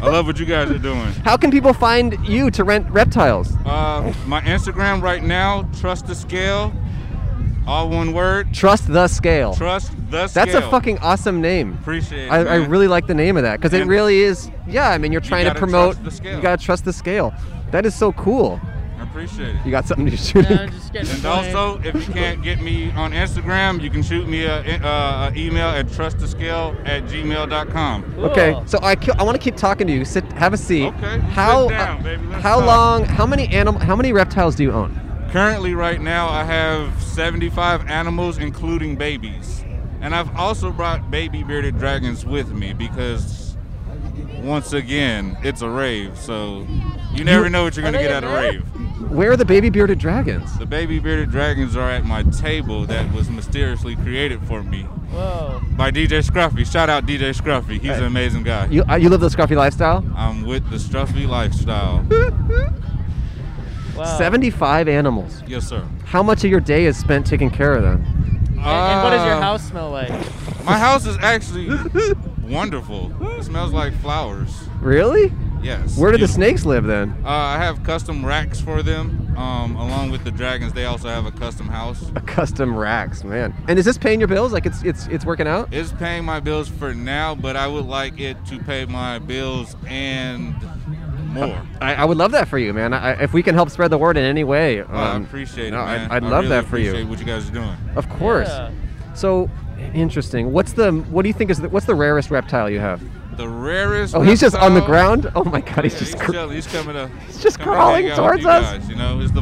S9: I love what you guys are doing.
S2: How can people find you to rent reptiles?
S9: Uh, my Instagram right now, Trust the Scale, all one word.
S2: Trust the scale.
S9: Trust the Scale.
S2: That's a fucking awesome name.
S9: Appreciate it.
S2: I, I
S9: man.
S2: really like the name of that because it
S9: And-
S2: really is. Yeah, I mean you're trying to
S9: gotta
S2: promote.
S9: trust the scale.
S2: You gotta trust the scale. That is so cool.
S9: I appreciate
S2: You
S9: it.
S2: got something to shoot.
S6: Yeah, I'm just getting
S9: And
S6: plain.
S9: also, if you can't get me on Instagram, you can shoot me an uh, a email at trustthescale at gmail.com.
S2: Okay,
S6: Cool.
S2: so I, ki- I want to keep talking to you. Sit, have a seat.
S9: Okay, sit
S2: How
S9: down, baby. Let's
S2: how
S9: talk.
S2: long? How many animal? How many reptiles do you own?
S9: Currently, right now, I have 75 animals, including babies. And I've also brought baby bearded dragons with me because, once again, it's a rave. So you never know what you're going to
S6: Are
S9: get
S6: they
S9: at a
S6: in there?
S9: rave.
S2: Where are the baby bearded dragons?
S9: The baby bearded dragons are at my table that was mysteriously created for me
S6: Whoa.
S9: by DJ Scruffy. Shout out DJ Scruffy. He's an amazing guy.
S2: You uh, you live the scruffy lifestyle.
S9: I'm with the Scruffy lifestyle.
S6: Wow.
S2: Seventy five animals.
S9: yes, sir.
S2: How much of your day is spent taking care of them?
S6: And, and what does your house smell like?
S9: Uh, My house is actually wonderful. It smells like flowers.
S2: Really?
S9: Yes.
S2: Where do the
S9: Beautiful.
S2: snakes live then?
S9: Uh, I have custom racks for them. Um, along with the dragons, they also have a custom house.
S2: A custom racks, man. And is this paying your bills? Like it's it's it's working out?
S9: It's paying my bills for now, but I would like it to pay my bills and more.
S2: I, I would love that for you, man. I, if we can help spread the word in any way, um,
S9: Oh, I appreciate
S2: no,
S9: it, man.
S2: I, would love
S9: really
S2: that for you.
S9: appreciate What you guys are doing?
S2: Of course.
S6: Yeah.
S2: So interesting. What's the what do you think is the, what's the rarest reptile you have?
S9: The rarest.
S2: Oh, he's just on the
S9: reptile-
S2: ground. Oh my god,
S9: Yeah,
S2: he's
S9: he's,
S2: just.
S9: just
S2: Cr-
S9: he's coming to.
S2: He's just
S9: coming to
S2: crawling
S9: hang out with
S2: towards
S9: you
S2: us.
S9: guys, you know, it's the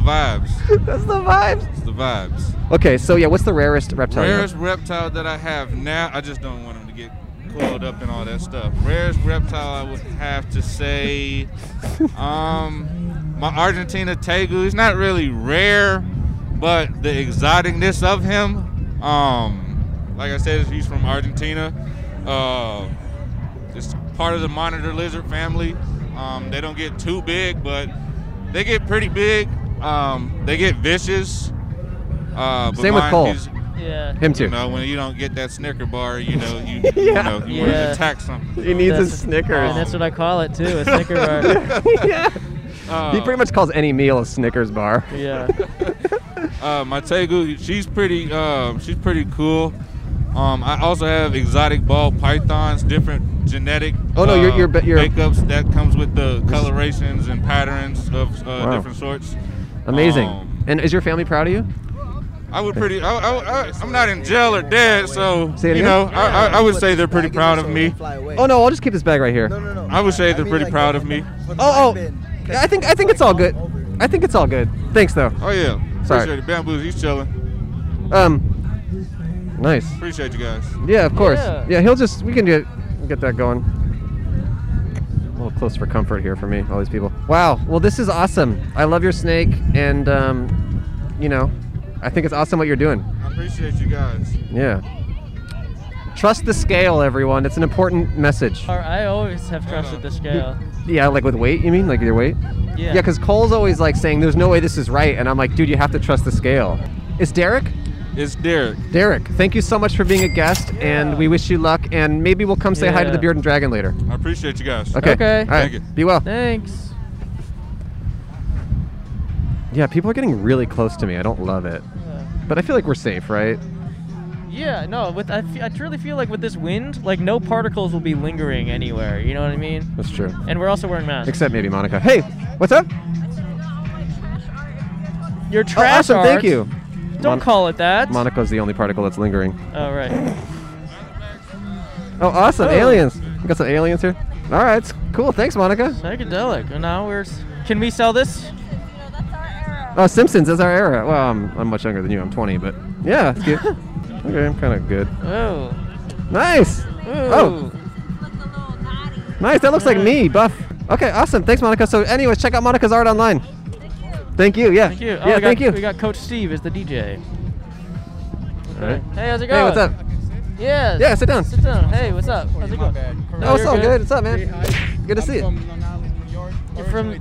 S9: vibes.
S2: That's the vibes.
S9: It's the vibes.
S2: Okay, so yeah, what's the rarest reptile? you have?
S9: Rarest reptile that I have now, I just don't want him to get coiled up and all that stuff. Rarest reptile I would have to say, um, my Argentina tegu. He's not really rare, but the exoticness of him, um, like I said, he's from Argentina. Uh, it's part of the monitor lizard family. Um, they don't get too big, but they get pretty big. Um, they get vicious. Uh, but
S2: Same with
S9: mine,
S2: Cole.
S9: he's-
S6: Yeah.
S2: Him too.
S9: you know, when you don't get that Snicker bar, you know, you, you
S2: Yeah.
S9: know, you want
S6: Yeah.
S9: to attack something.
S2: He needs his
S6: That's-
S2: Snickers.
S6: And that's what I call it too, a Snicker bar.
S2: yeah.
S9: Uh,
S2: He pretty much calls any meal a Snickers bar.
S6: Yeah.
S9: uh, my Tegu, she's pretty, uh, she's pretty cool. Um, I also have exotic ball pythons, different genetic
S2: Oh, no,
S9: uh,
S2: you're- you're be- you're-
S9: makeups that comes with the colorations and patterns of uh,
S2: Wow.
S9: different sorts.
S2: Amazing.
S9: Um,
S2: and is your family proud of you?
S9: I would pretty. I, I, I, I'm not in jail or dead, so
S2: Say it
S9: you
S2: again?
S9: know, I, I, I would say they're pretty proud of me.
S2: Oh no, I'll just keep this bag right here.
S10: No, no, no.
S9: I would say they're
S10: mean,
S9: pretty
S10: like,
S9: proud
S10: the-
S9: of me.
S2: Oh,
S10: for the black
S2: oh.
S10: bin, 'cause
S2: I think I think it's all good.
S10: over it.
S2: I think it's all good. Thanks though.
S9: Oh yeah,
S2: Sorry.
S9: appreciate it. Bamboos, he's chilling.
S2: Um. Nice.
S9: Appreciate you guys.
S2: Yeah, of course.
S6: Yeah.
S2: Yeah, he'll just we can get get that going. A little close for comfort here for me, all these people. Wow. Well, this is awesome. I love your snake, and um, you know, I think it's awesome what you're doing.
S9: I appreciate you guys.
S2: Yeah. Trust the scale, everyone. It's an important message.
S6: Or I always have trusted the scale.
S2: Yeah, like with weight, you mean? Like your weight?
S6: Yeah.
S2: Yeah, because Cole's always like saying, there's no way this is right. And I'm like, dude, you have to trust the scale. It's Derek?
S9: It's Derek.
S2: Derek, thank you so much for being a guest. And we wish you luck. And maybe we'll come say hi to the
S6: Yeah.
S2: Beard and Dragon later.
S9: I appreciate you guys.
S2: Okay.
S6: Okay.
S2: All right.
S9: Thank you.
S2: Be well.
S6: Thanks.
S2: Yeah, people are getting really close to me. I don't love it. But I feel like we're safe, right?
S6: Yeah, no, with I, fe- I truly feel like with this wind, like no particles will be lingering anywhere. You know what I mean?
S2: That's true.
S6: And we're also wearing masks.
S2: Except maybe Monica. Hey, what's up?
S6: Your
S2: Oh,
S6: trash
S2: awesome. Thank
S6: art-
S2: you.
S6: Don't
S2: Mon-
S6: call it that.
S2: Monica's the only particle that's lingering.
S6: oh, right.
S2: Oh, awesome.
S6: Oh.
S2: Aliens. We got some aliens here. All right. it's Cool. Thanks, Monica.
S6: Psychedelic. And now we're. s- Can we sell this?
S2: Oh, Simpsons. That's our era. Well, I'm, I'm much younger than you. I'm 20, but yeah, that's cute. okay, I'm kind of good.
S6: Oh.
S2: Nice. Oh,
S6: Ooh.
S2: nice. That looks like me, buff. Okay, awesome. Thanks, Monica. So, anyways, check out Monica's art online. Thank you. Yeah.
S6: Thank you. Oh,
S2: yeah.
S6: we got,
S2: thank you.
S6: We got Coach Steve as the DJ.
S2: All right.
S6: Hey, how's it going?
S2: Hey, what's up?
S6: Yes.
S2: Yeah, sit down.
S6: Sit down. Hey, what's up? How's it going? No,
S2: Oh, what's
S6: you're
S2: up? Good. What's up, man? Good to see you.
S6: You're from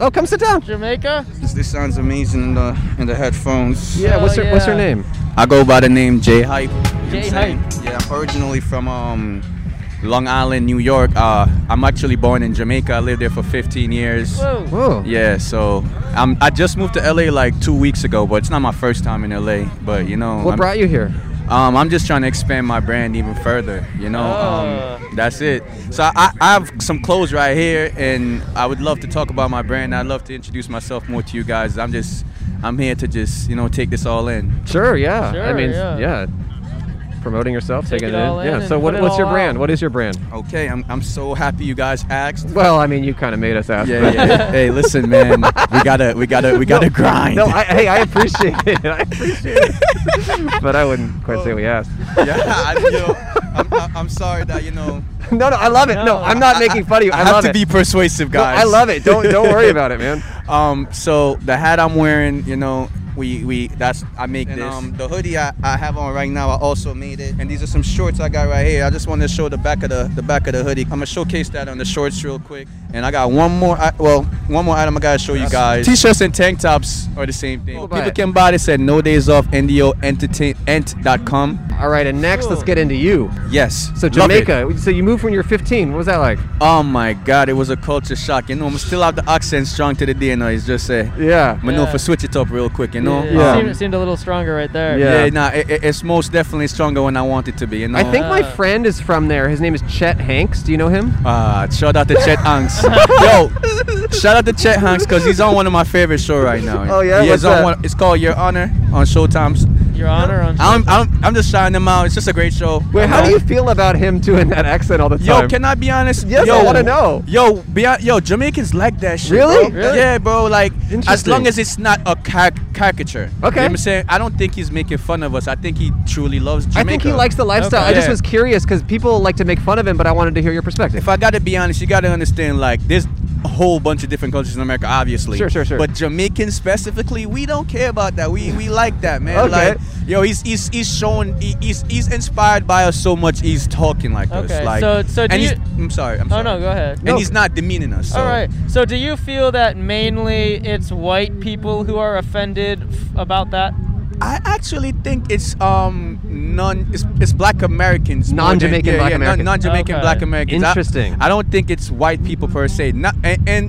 S2: Oh, come sit down.
S6: Jamaica?
S10: This, this sounds amazing in the in the headphones.
S2: Yeah. What's
S6: Oh,
S2: her What's her
S6: yeah.
S2: name?
S10: I go by the name J Hype. You know what I'm
S6: J
S10: saying? Yeah, I'm originally from um, Long Island, New York. Uh, I'm actually born in Jamaica. I lived there for 15 years.
S6: Whoa.
S2: Whoa.
S10: Yeah, so I'm, I just moved to LA like two weeks ago, but it's not my first time in LA. But you know,
S2: What
S10: I'm,
S2: brought you here?
S10: um, I'm just trying to expand my brand even further. You know,
S6: Oh.
S10: um, that's it. So I- I, I have some clothes right here, and I would love to talk about my brand. I'd love to introduce myself more to you guys. I'm just, I'm here to just, you know, take this all in.
S2: Sure. Yeah. I
S6: Sure,
S2: mean,
S6: yeah.
S2: Promoting yourself,
S6: Take
S2: taking
S6: it all in
S2: Yeah.
S6: and
S2: So, what,
S6: put it
S2: what's your
S6: all
S2: brand?
S6: out.
S2: What is your brand?
S10: Okay, I'm, I'm so happy you guys asked.
S2: Well, I mean, you kind of made us ask.
S10: Yeah,
S2: but-
S10: yeah. hey, listen, man, we gotta, we gotta, we gotta grind.
S2: No, I, hey, I appreciate it. I appreciate it. but I wouldn't quite say we asked.
S10: yeah, I, you know, I'm, I- I'm sorry that you know.
S2: No, no, I love it. No,
S6: No.
S2: I'm not making fun of you. I,
S10: I have
S2: love
S10: to
S2: it.
S10: be persuasive,
S2: No,
S10: guys.
S2: I love it. Don't don't worry about it, man.
S10: Um, so the hat I'm wearing, you know, we we that's I make
S2: And,
S10: this.
S2: um,
S10: the hoodie I, I have on right now, I also made it. And these are some shorts I got right here. I just want to show the back of the the back of the hoodie. I'm gonna showcase that on the shorts real quick. And I got one more, I, well, one more item I gotta show you guys. T-shirts and tank tops are the same thing.
S2: People buy
S10: People
S2: it.
S10: can buy this at no days off NDO entertain ent.com.
S2: All right, and next, let's get into you.
S10: Yes.
S2: So
S10: Love it.
S2: Jamaica. So you moved when you were 15. What was that like?
S10: Oh my God, it was a culture shock. You know, I'm still have the accent strong to the day. You know, it's just eh, a.
S2: Yeah.
S10: But no,
S6: Yeah.
S10: for switch it up real quick, you know. Um,
S6: Yeah,
S2: Yeah.
S6: It seemed, it seemed a little stronger right there.
S2: Yeah.
S10: Yeah, nah, it, it- it's most definitely stronger when I want it to be. You know?
S2: I think my
S6: Uh.
S2: friend is from there. His name is Chet Hanks. Do you know him?
S10: Uh, shout out to Chet Hanks. Yo, shout out to Chet Hanks because he's on one of my favorite shows right now.
S2: Oh, yeah?
S10: He
S2: What's
S10: is on
S2: that?
S10: One, it's called Your Honor on Showtime's.
S6: Your honor on.
S10: I'm, I'm, I'm just shouting him out. It's just a great show. Uh,
S2: Wait, how do you feel about him doing that accent all the
S10: Yo,
S2: time?
S10: can I be honest?
S2: Yes, I
S10: yo,
S2: wanna know.
S10: Yo, be hon- yo, Jamaicans like that shit.
S2: Really?
S10: bro.
S2: Really?
S10: Yeah, bro. Like, as
S2: Interesting.
S10: long as it's not a car- caricature. You know
S2: Okay.
S10: what I'm saying? I don't think he's making fun of us. I think he truly loves Jamaica.
S2: I think he likes the lifestyle.
S10: Okay.
S2: I just
S10: Yeah.
S2: was curious because people like to make fun of him, but I wanted to hear your perspective.
S10: if I gotta be honest, you gotta understand like there's a whole bunch of different cultures in America, obviously.
S2: Sure, sure, sure.
S10: But Jamaicans specifically, we don't care about that. We we like that, man.
S2: Okay.
S10: Like yo, he's he's he's showing he, he's he's inspired by us so much he's talking like
S6: Okay,
S10: this. Like
S6: so- so do
S10: and he's,
S6: you-
S10: I'm sorry, I'm
S6: Oh
S10: sorry.
S6: no, go ahead.
S10: And he's not demeaning us. So.
S6: All right. So do you feel that mainly it's white people who are offended f- about that?
S10: I actually think it's um non it's, it's black Americans more than-
S2: Non-Jamaican
S10: yeah,
S2: black
S10: yeah, non-
S2: Americans.
S10: non-Jamaican
S6: Okay.
S10: black Americans I-
S2: Interesting.
S10: I, don't think it's white people per se not and, and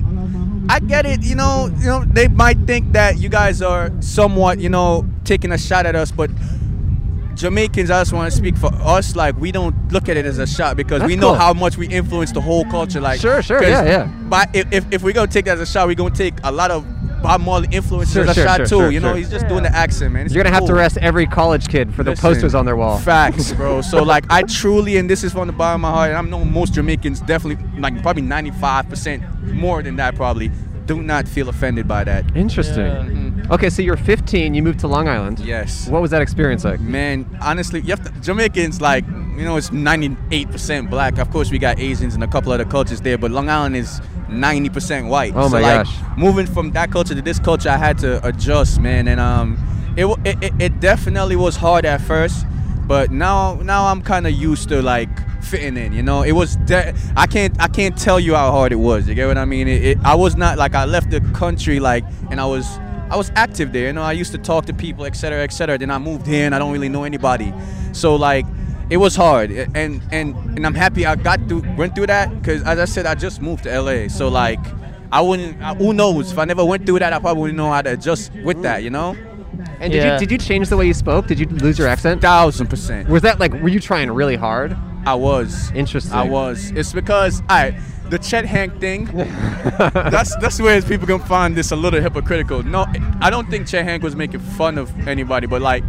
S10: I get it you know you know they might think that you guys are somewhat you know taking a shot at us but Jamaicans, I just want to speak for us. Like, we don't look at it as a shot because we
S2: That's
S10: know
S2: cool.
S10: how much we influence the whole culture. Like,
S2: Sure, sure,
S10: 'cause
S2: yeah, yeah.
S10: But if, if, if we're gonna take that as a shot, we're gonna take a lot of Bob Marley influences
S2: Sure,
S10: as a
S2: sure,
S10: shot
S2: sure,
S10: too.
S2: sure,
S10: you know,
S2: sure.
S10: he's just doing the accent, man. It's
S2: You're gonna have to
S10: cool.
S2: arrest every college kid for the
S10: Listen,
S2: posters on their wall.
S10: Facts, bro. So like, I truly, and this is from the bottom of my heart, and I know most Jamaicans definitely, like probably 95% more than that, probably do not feel offended by that.
S2: Interesting. Okay, so you're 15. You moved to Long Island.
S10: Mm-hmm. Yes. Mm-hmm.
S2: What was that experience like?
S10: Man, honestly, you have to, Jamaicans like you know it's 98% black. Of course, we got Asians and a couple other cultures there, but Long Island is 90% white.
S2: Oh
S10: so
S2: my
S10: like,
S2: gosh.
S10: Moving from that culture to this culture, I had to adjust, man, and um, it wa- it, it, it definitely was hard at first, but now now I'm kind of used to like fitting in. You know, it was de- I can't I can't tell you how hard it was. You get what I mean? It, it, I was not like I left the country like and I was I was active there. You know, I used to talk to people, etc., cetera, etc. Then I moved here and I don't really know anybody. So like it was hard a- and and and I'm happy I got through went through that because as I said I just moved to LA. So like. I wouldn't. I, who knows? If I never went through that, I probably wouldn't know how to adjust with that. You know.
S2: And did you did you change the way you spoke? Did you lose your accent?
S10: Thousand percent.
S2: Was that like were you trying really hard?
S10: I was.
S2: Interesting.
S10: I was. It's because I the Chet Hank thing. that's that's where people can find this a little hypocritical. No, I don't think Chet Hank was making fun of anybody, but like.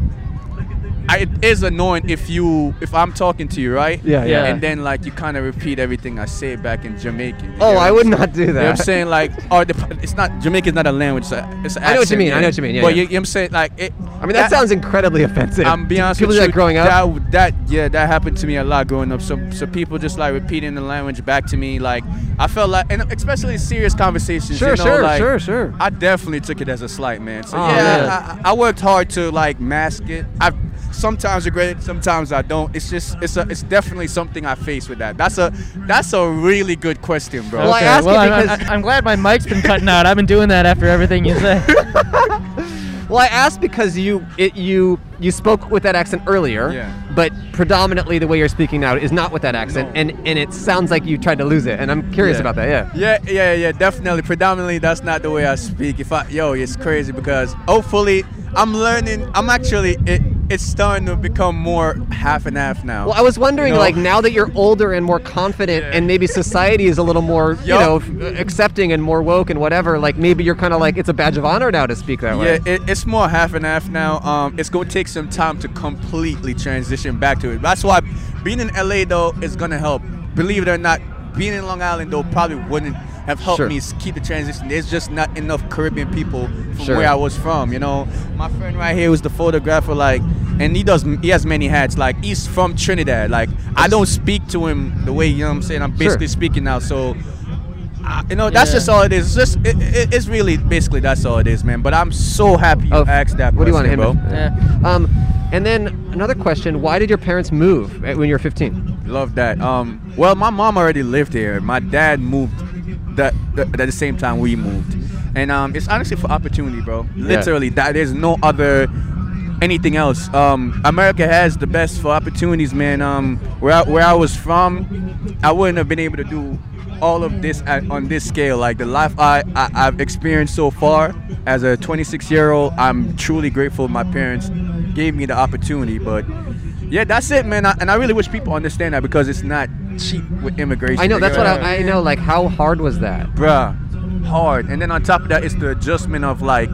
S10: I, it is annoying if you if I'm talking to you, right?
S2: Yeah, yeah.
S10: And then like you kind of repeat everything I say back in Jamaican. You
S2: Oh,
S10: know?
S2: I would not do
S10: You know what I'm
S2: that.
S10: saying like, or the, it's not Jamaican's not a language. It's, a, it's an
S2: I know what you
S10: accent,
S2: mean, I
S10: yeah.
S2: know what you mean, yeah, yeah.
S10: but You, you know what I'm saying like it.
S2: I mean that, sounds incredibly offensive.
S10: I'm being honest
S2: People
S10: with
S2: do
S10: you.
S2: that growing up.
S10: That, that- yeah, that happened to me a lot growing up. So so people just like repeating the language back to me. Like I felt like, and especially in serious conversations.
S2: sure,
S10: you know,
S2: sure,
S10: like,
S2: sure, sure.
S10: I definitely took it as a slight, man. So
S2: Aw, man.
S10: yeah, I, I, I worked hard to like mask it. I sometimes regret it, sometimes I don't. It's just it's a, it's definitely something I face with that. That's a that's a really good question, bro.
S2: Well, I ask
S6: well,
S2: you
S6: I'm-
S2: because-
S6: I'm, I'm glad my mic's been cutting out. I've been doing that after everything you said.
S2: Well, I asked because you it, you you spoke with that accent earlier,
S10: Yeah.
S2: but predominantly the way you're speaking now is not with that accent,
S10: No.
S2: and and it sounds like you tried to lose it, and I'm curious
S10: Yeah.
S2: about that. Yeah.
S10: Yeah, yeah, yeah, definitely. Predominantly, that's not the way I speak. If I, yo, it's crazy because hopefully I'm learning. I'm actually, it, it's starting to become more half and half now.
S2: Well, I was wondering,
S10: You know?
S2: like, now that you're older and more confident, and maybe society is a little more, you
S10: Yup.
S2: know, f- accepting and more woke and whatever, like, maybe you're kind of like, it's a badge of honor now to speak that way.
S10: Yeah, it, it's more half and half now. Um, it's gonna take some time to completely transition back to it. That's why being in LA though is gonna help. Believe it or not, being in Long Island though probably wouldn't have helped
S2: Sure.
S10: me s- keep the transition. There's just not enough Caribbean people from
S2: Sure.
S10: where I was from. You know, my friend right here was the photographer, like, and he does he has many hats. Like he's from Trinidad. Like I don't speak to him the way you know what I'm saying. I'm basically speaking now, so. I- you know, that's
S6: Yeah.
S10: just all it is. It's just it, it, it's really basically that's all it is, man. But I'm so happy you
S2: Oh,
S10: asked that.
S2: What do you want
S10: question,
S2: him to-
S10: bro?
S6: Yeah.
S2: Um, and then another question why did your parents move at- when you were 15?
S10: Love that. Um, well, my mom already lived here. My dad moved that that- at the same time we moved, and um, it's honestly for opportunity, bro. Literally, that there's no other anything else. Um, America has the best for opportunities, man. Um, where I, where I was from, I wouldn't have been able to do all of this at, on this scale. Like the life I, I I've experienced so far as a 26 year old, I'm truly grateful my parents gave me the opportunity, but. Yeah, that's it, man. I, and I really wish people understand that because it's not cheap with immigration.
S2: I know,
S10: You
S2: that's what
S10: I mean?
S2: I, I know, like, how hard was that?
S10: bruh, hard. And then on top of that, it's the adjustment of like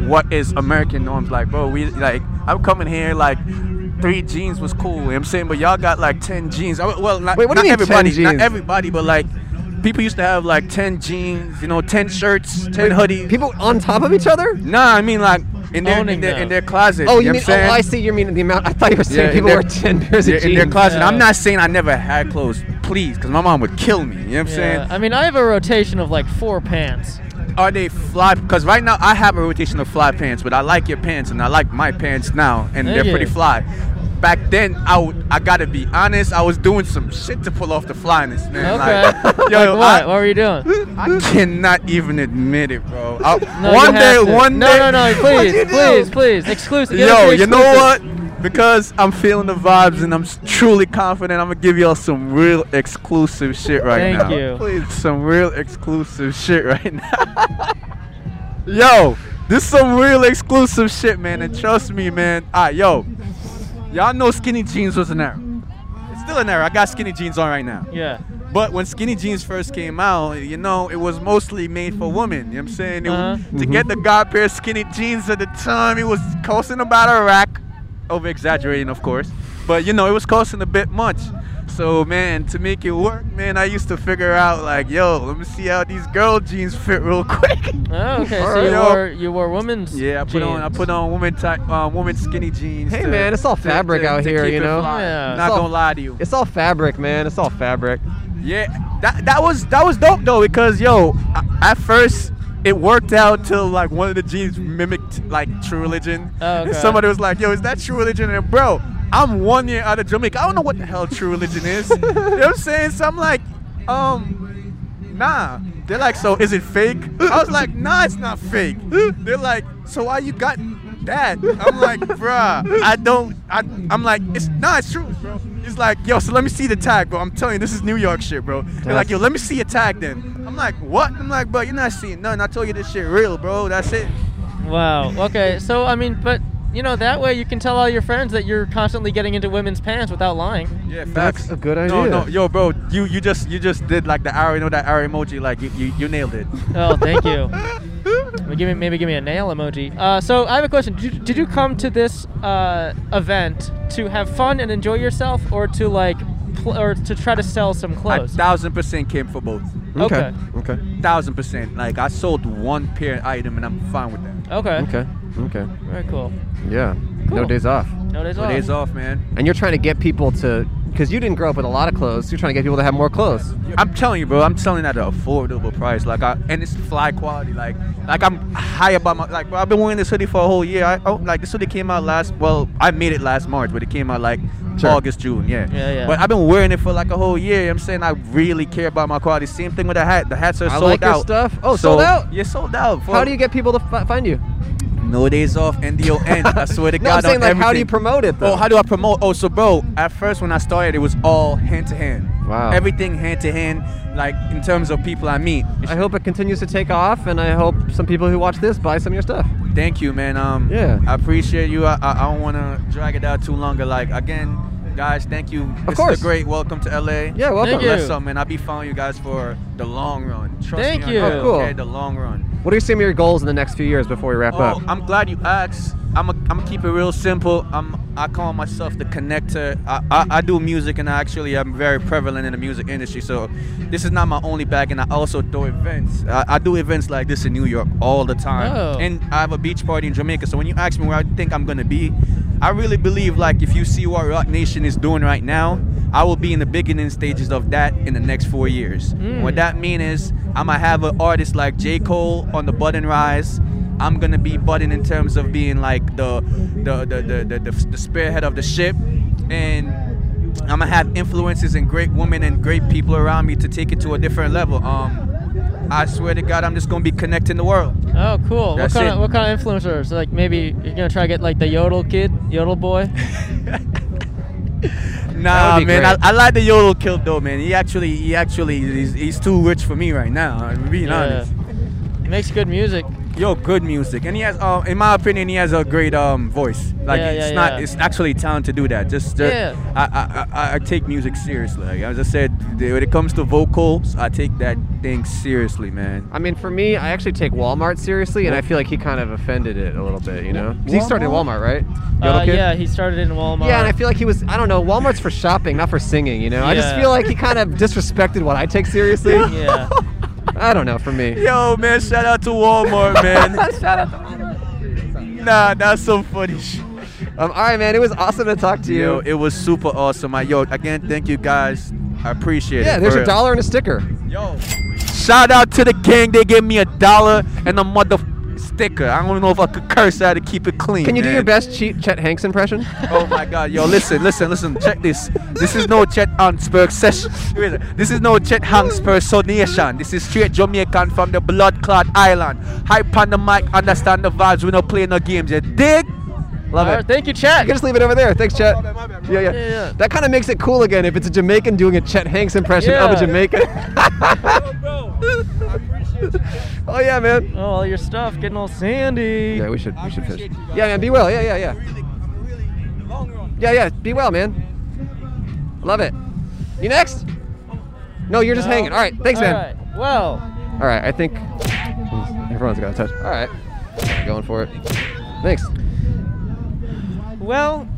S10: what is American norms. Like, bro, we like I'm coming here like three jeans was cool. You know what I'm saying, but y'all got like ten jeans. I- Well, not,
S2: Wait, what do
S10: not
S2: you mean 10
S10: everybody,
S2: jeans?
S10: not everybody, but like people used to have like ten jeans, you know, ten shirts, ten hoodies.
S2: People on top of each other?
S10: nah, I mean like in their in
S6: Owning
S10: their,
S6: them.
S10: in their closet.
S2: Oh,
S10: know
S2: you
S10: what
S2: mean,
S10: I'm
S2: oh,
S10: saying?
S2: I see, you mean the amount. I thought you were saying
S10: in
S2: people
S10: their-
S2: wore 10 pairs of
S10: yeah,
S2: jeans.
S10: in their closet. I'm
S6: Yeah.
S10: not saying I never had clothes. Please, because my mom would kill me. You know what I'm
S6: Yeah.
S10: saying?
S6: I mean, I have a rotation of like four pants.
S10: Are they fly? Because right now I have a rotation of fly pants, but I like your pants and I like my pants now, and
S6: Thank
S10: they're
S6: you.
S10: pretty fly. Back then, I would, I gotta be honest, I was doing some shit to pull off the flyness, man.
S6: Okay.
S10: Like,
S6: like
S10: yo,
S6: what?
S10: I-
S6: what were you doing?
S10: I cannot even admit it, bro. I-
S6: No, you
S10: one day,
S6: have to.
S10: one
S6: no,
S10: day.
S6: No, no,
S2: you
S6: Please,
S2: do?
S6: please, please. Exclusive. get us
S10: Yo,
S6: the
S10: you know
S6: exclusive.
S10: what? Because I'm feeling the vibes and I'm s- truly confident, I'm gonna give y'all some real exclusive shit right
S6: Thank
S10: now.
S6: you.
S10: Please, some real exclusive shit right now. yo, this some real exclusive shit, man. And trust me, man. Ah, yo, y'all know skinny jeans was an era. It's still an era. I got skinny jeans on right now.
S6: Yeah.
S10: But when skinny jeans first came out, you know, it was mostly made for women. You know what I'm saying? It-
S6: Uh-huh.
S2: Mm-hmm.
S10: To get the god pair of skinny jeans at the time, it was costing about a rack. Over exaggerating, of course. But, you know, it was costing a bit much. So, man, to make it work, man, I used to figure out, like, yo, let me see how these girl jeans fit real quick.
S6: Oh, okay.
S10: All
S6: So
S10: right,
S6: you
S10: yo.
S6: wore you wore women's.
S10: yeah, I put on I
S6: jeans.
S10: put on woman type, um, woman skinny jeans.
S2: Hey, man, it's all fabric out here,
S10: keep
S2: you
S10: it
S2: know?
S10: fly.
S6: Yeah.
S10: Not
S2: It's all-
S10: gonna lie to you.
S2: It's all fabric, man. It's all fabric.
S10: Yeah, that that was that was dope though because yo, a- at first it worked out till like one of the G's mimicked like True Religion.
S6: Oh, okay.
S10: And somebody was like, "Yo, is that True Religion?" And bro, I'm one year out of Jamaica. I don't know what the hell True Religion is. you know what I'm saying? So I'm like, um, nah. They're like, so is it fake? I was like, nah, it's not fake. They're like, so why you got that? I'm like, bruh, I don't. I, I'm like, it's nah, it's true, bro. He's like, yo, so let me see the tag, bro. I'm telling you, this is New York shit, bro. They're like, yo, let me see a tag then. I'm like, what? I'm like, bro, you're not seeing nothing. I told you this shit real, bro. That's it.
S6: Wow. Okay. So I mean, but you know, that way you can tell all your friends that you're constantly getting into women's pants without lying.
S10: Yeah,
S2: That's
S10: facts.
S2: a good
S10: No,
S2: idea.
S10: no, yo, bro, you you just you just did like the arrow, you know that arrow emoji, like you you, you nailed it.
S6: Oh, thank you. Well, give me maybe give me a nail emoji. Uh, so I have a question. Did you, did you come to this uh, event to have fun and enjoy yourself, or to like, pl- or to try to sell some
S10: I
S6: clothes?
S10: thousand percent came for both.
S6: Okay.
S2: Okay.
S10: Thousand percent. Like I sold one pair item and I'm fine with that.
S6: Okay.
S2: Okay. Okay.
S6: Very cool.
S2: Yeah. No
S6: Cool.
S2: days off.
S6: No days
S10: Two
S6: off.
S10: days off, man.
S2: And you're trying to get people to, because you didn't grow up with a lot of clothes. You're trying to get people to have more clothes.
S10: I'm telling you, bro. I'm selling at an affordable price. Like, I, and it's fly quality. Like, like I'm high about my. Like, bro, I've been wearing this hoodie for a whole year. I oh, like this hoodie came out last. Well, I made it last March, but it came out like
S2: Sure.
S10: August, June. Yeah.
S6: Yeah, yeah.
S10: But I've been wearing it for like a whole year. You know what I'm saying I really care about my quality. Same thing with the hat. The hats are
S2: I
S10: sold
S2: like your
S10: out.
S2: stuff. Oh, sold out?
S10: Yeah, sold out.
S2: How do you get people to fi- find you?
S10: No days off. N-D-O-N. I swear to
S2: No,
S10: God.
S2: I'm saying
S10: on
S2: like how do you
S10: everything.
S2: promote it though?
S10: Oh, how do I promote? Oh, so bro, at first when I started, it was all hand to hand.
S2: Wow.
S10: Everything hand to hand, like in terms of people I meet.
S2: I hope it continues to take off, and I hope some people who watch this buy some of your stuff.
S10: Thank you, man. Um,
S2: Yeah.
S10: I appreciate you. I, I, I don't want to drag it out too longer. Like again, guys, thank you. Of
S2: course.
S10: great. Welcome to LA.
S2: Yeah, welcome.
S6: Thank you.
S10: Bless up, man. I'll be following you guys for the long run. Trust
S6: Thank
S10: me on
S6: you.
S10: that,
S6: Oh,
S2: cool.
S10: Okay, the long run.
S2: What are some of your goals in the next few years before we wrap
S10: Oh,
S2: up?
S10: I'm glad you asked. I'm going I'm to keep it real simple. I'm I call myself the connector. I, I, I do music and I actually am very prevalent in the music industry. So this is not my only bag and I also do events. I, I do events like this in New York all the time.
S6: Oh.
S10: And I have a beach party in Jamaica. So when you ask me where I think I'm going to be, I really believe like if you see what Rock Nation is doing right now, I will be in the beginning stages of that in the next four years. What that means is I'm gonna have an artist like J. Cole on the Button Rise. I'm gonna be button in terms of being like the the the the, the, the, the spearhead of the ship, and I'm gonna have influences and great women and great people around me to take it to a different level. Um, I swear to God, I'm just gonna be connecting the world.
S6: Oh, cool.
S10: That's
S6: what kind
S10: it.
S6: of what kind of influencers? Like maybe you're gonna try to get like the yodel kid, yodel boy.
S10: Nah,
S2: would be
S10: man,
S2: great.
S10: I, I like the yodel kid though, man. He actually, he actually, he's, he's too rich for me right now. I'm being honest.
S6: He makes good music.
S10: Yo, good music, and he has, uh, in my opinion, he has a great um voice. Like
S6: Yeah,
S10: it's
S6: yeah,
S10: not,
S6: yeah.
S10: it's actually talent to do that. Just, just
S6: Yeah.
S10: I, I, I, I take music seriously. Like as I said, th- when it comes to vocals, I take that thing seriously, man.
S2: I mean, for me, I actually take Walmart seriously, and I feel like he kind of offended it a little bit, you know? 'Cause He started in Walmart, right? Yodel
S6: Uh,
S2: Kid?
S6: yeah, he started in Walmart.
S2: Yeah, and I feel like he was, I don't know, Walmart's for shopping, not for singing, you know? I just
S6: Yeah.
S2: feel like he kind of disrespected what I take seriously.
S6: yeah.
S2: I don't know, for me.
S10: Yo, man, shout out to Walmart, man. shout out to Walmart. Nah, that's some funny shit.
S2: Um, all right, man, it was awesome to talk to you.
S10: Yo, it was super awesome. I, yo, again, thank you guys. I appreciate it.
S2: yeah, there's
S10: for
S2: a
S10: real.
S2: dollar and a sticker.
S10: Yo. Shout out to the gang. They gave me a dollar and a mother sticker. I don't know if I could curse how to keep it clean.
S2: Can you do your
S10: man.
S2: best cheat Chet Hanks impression?
S10: Oh my god, yo, listen, listen, listen. Check this. This is no Chet Hansberg session. This is no Chet Hanspersonation. This is straight Jamaican from the blood clot island. Hype on the mic, understand the vibes. We don't play no games. You dig? Love
S6: All
S10: it.
S6: right, thank you, Chad.
S2: You can just leave it over there. Thanks, Chet.
S10: my bad, my bad.
S2: Yeah, yeah.
S6: Yeah, yeah.
S2: That kind of makes it cool again if it's a Jamaican doing a Chet Hanks impression of
S6: Yeah.
S2: a Jamaican. oh yeah, man.
S6: Oh, all your stuff getting all sandy.
S2: Yeah, we should we should finish.
S10: appreciate you guys.
S2: Yeah, man. Be well. Yeah, yeah, yeah. Yeah, yeah. Be well, man. Love it. You next? No, you're just
S6: No.
S2: hanging. All right. Thanks, man.
S6: All right. Well,
S2: All right. I think everyone's got a touch. All right. Going for it. Thanks.
S6: well,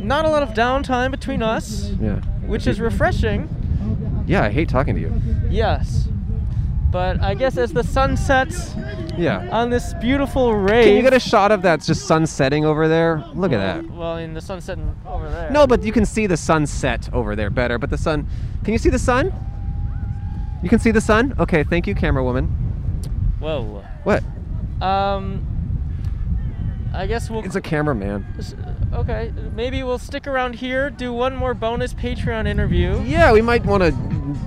S6: not a lot of downtime between us,
S2: Yeah.
S6: which is refreshing.
S2: Yeah, I hate talking to you.
S6: Yes. But I guess as the sun sets
S2: Yeah.
S6: on this beautiful rave.
S2: Can you get a shot of that just sun setting over there? Look at that.
S6: Well, in the sun setting over there.
S2: No, but you can see the sunset over there better. But the sun, can you see the sun? You can see the sun. Okay, thank you, camera woman.
S1: Whoa.
S2: What?
S1: Um, I guess we'll.
S2: It's a cameraman.
S1: s- Okay, maybe we'll stick around here, do one more bonus Patreon interview.
S2: Yeah, we might want to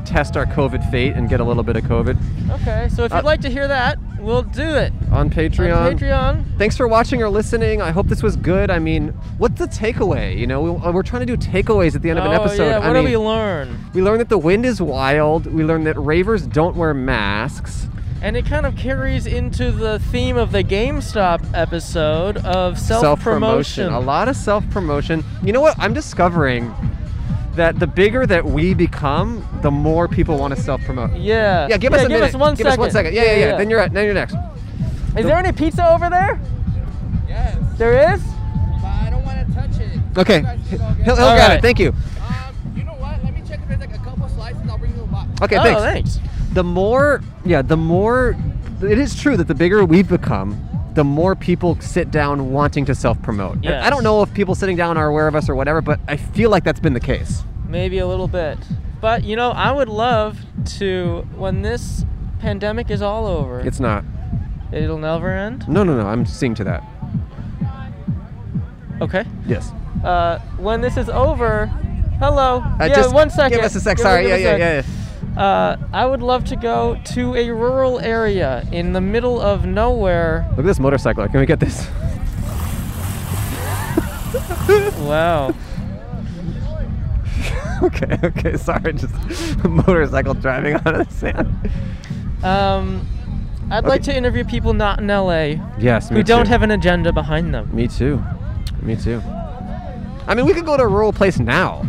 S2: test our COVID fate and get a little bit of COVID
S1: Okay, so if you'd
S2: Uh,
S1: like to hear that, we'll do it.
S2: on Patreon.
S1: On Patreon.
S2: Thanks for watching or listening. I hope this was good. I mean, what's the takeaway? You know, we, uh, we're trying to do takeaways at the end of an
S1: oh,
S2: episode.
S1: Yeah,
S2: I
S1: what do
S2: mean,
S1: we learn?
S2: we learned that the wind is wild. We learned that ravers don't wear masks.
S1: And it kind of carries into the theme of the GameStop episode of self promotion.
S2: A lot of self promotion. You know what? I'm discovering that the bigger that we become, the more people want to self promote.
S1: Yeah.
S2: Yeah, give us a
S1: give
S2: minute.
S1: Us one
S2: give us one second. Yeah, yeah, yeah. Then you're then you're next.
S1: Is there any pizza over there?
S10: Yes,
S1: There is.
S10: but I don't want to touch it.
S2: Okay.
S10: You guys should all get
S2: He'll, he'll
S10: it.
S1: All
S2: get
S1: right.
S2: it. Thank you.
S10: Um, you know what? Let me check if there's like a couple slices. I'll bring you a box.
S2: Okay,
S1: oh,
S2: thanks.
S1: thanks.
S2: The more, yeah, the more. It is true that the bigger we've become, the more people sit down wanting to self promote. I
S1: Yes.
S2: don't know if people sitting down are aware of us or whatever, but I feel like that's been the case.
S1: Maybe a little bit. But you know, I would love to when this pandemic is all over.
S2: It's not.
S1: it'll never end.
S2: No, no, no. I'm seeing to that.
S1: Okay.
S2: Yes.
S1: Uh, when this is over, hello.
S2: Uh,
S1: yeah,
S2: just
S1: one second.
S2: Give us a sec.
S1: Give-
S2: Sorry.
S1: give
S2: Yeah,
S1: us
S2: yeah,
S1: a-
S2: yeah, yeah.
S1: Uh, I would love to go to a rural area in the middle of nowhere.
S2: Look at this motorcycler. Can we get this?
S1: Wow.
S2: okay, okay. Sorry. Just motorcycle driving on the sand.
S1: Um, I'd like to interview people not in LA
S2: Yes, me
S1: who don't
S2: too.
S1: have an agenda behind them.
S2: Me too. Me too. I mean, we could go to a rural place now.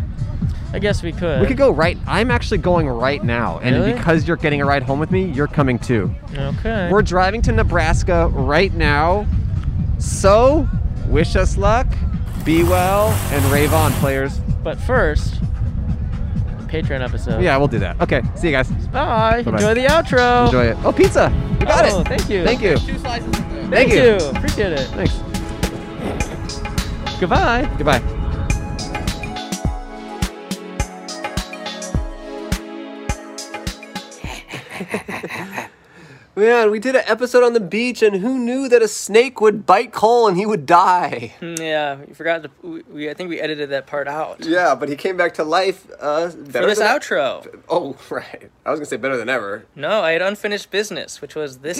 S1: I guess we could.
S2: We could go right. I'm actually going right now, and
S1: Really?
S2: because you're getting a ride home with me, you're coming too.
S1: Okay.
S2: We're driving to Nebraska right now. So, wish us luck, be well, and rave on, players.
S1: but first, Patreon episode.
S2: Yeah, we'll do that. Okay, see you guys.
S1: Bye.
S2: Bye-bye.
S1: Enjoy the outro.
S2: Enjoy it. Oh, pizza! You got
S1: Oh,
S2: it.
S1: thank you.
S2: Thank you.
S10: Two slices. in there.
S1: Thank,
S2: Thank
S1: you.
S2: you.
S1: Appreciate it.
S2: Thanks.
S1: Goodbye.
S2: Goodbye.
S11: Man, we did an episode on the beach, and who knew that a snake would bite Cole and he would die?
S10: Mm, Yeah, you forgot. To, we, we I think we edited that part out.
S11: Yeah, but he came back to life. Uh, better
S10: For this
S11: than-
S10: outro.
S11: Oh, right. I was gonna say better than ever.
S10: No, I had unfinished business, which was this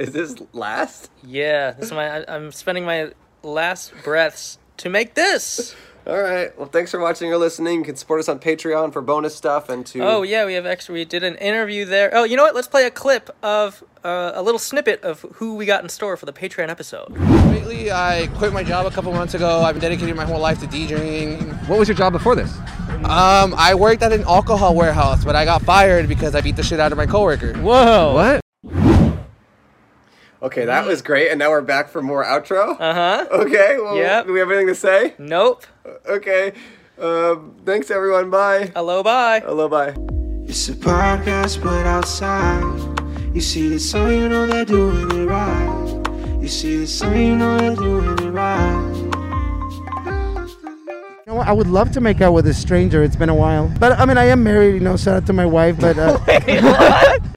S11: Is this last?
S10: Yeah, this is my. I, I'm spending my last breaths to make this.
S11: All right. Well, thanks for watching or listening. You can support us on Patreon for bonus stuff and to.
S10: Oh yeah, we have extra. We did an interview there. Oh, you know what? Let's play a clip of uh, a little snippet of who we got in store for the Patreon episode.
S12: Lately, I quit my job a couple months ago. I've been dedicating my whole life to DJing.
S2: What was your job before this?
S12: Um, I worked at an alcohol warehouse, but I got fired because I beat the shit out of my coworker.
S1: Whoa.
S2: What?
S11: Okay, that was great, and now we're back for more outro.
S10: Uh huh.
S11: Okay. Well,
S10: Yep.
S11: Do we have anything to say? Uh,
S10: Nope.
S11: Okay. Um, thanks, everyone. Bye.
S10: Hello. Bye.
S11: Hello. Bye.
S3: It's a podcast, but outside. You see the sun, you know they're doing it right. You see the sun, you know they're doing it right.
S5: You know what? I would love to make out with a stranger. It's been a while. But I mean, I am married, you know, shout out to my wife, but. Uh,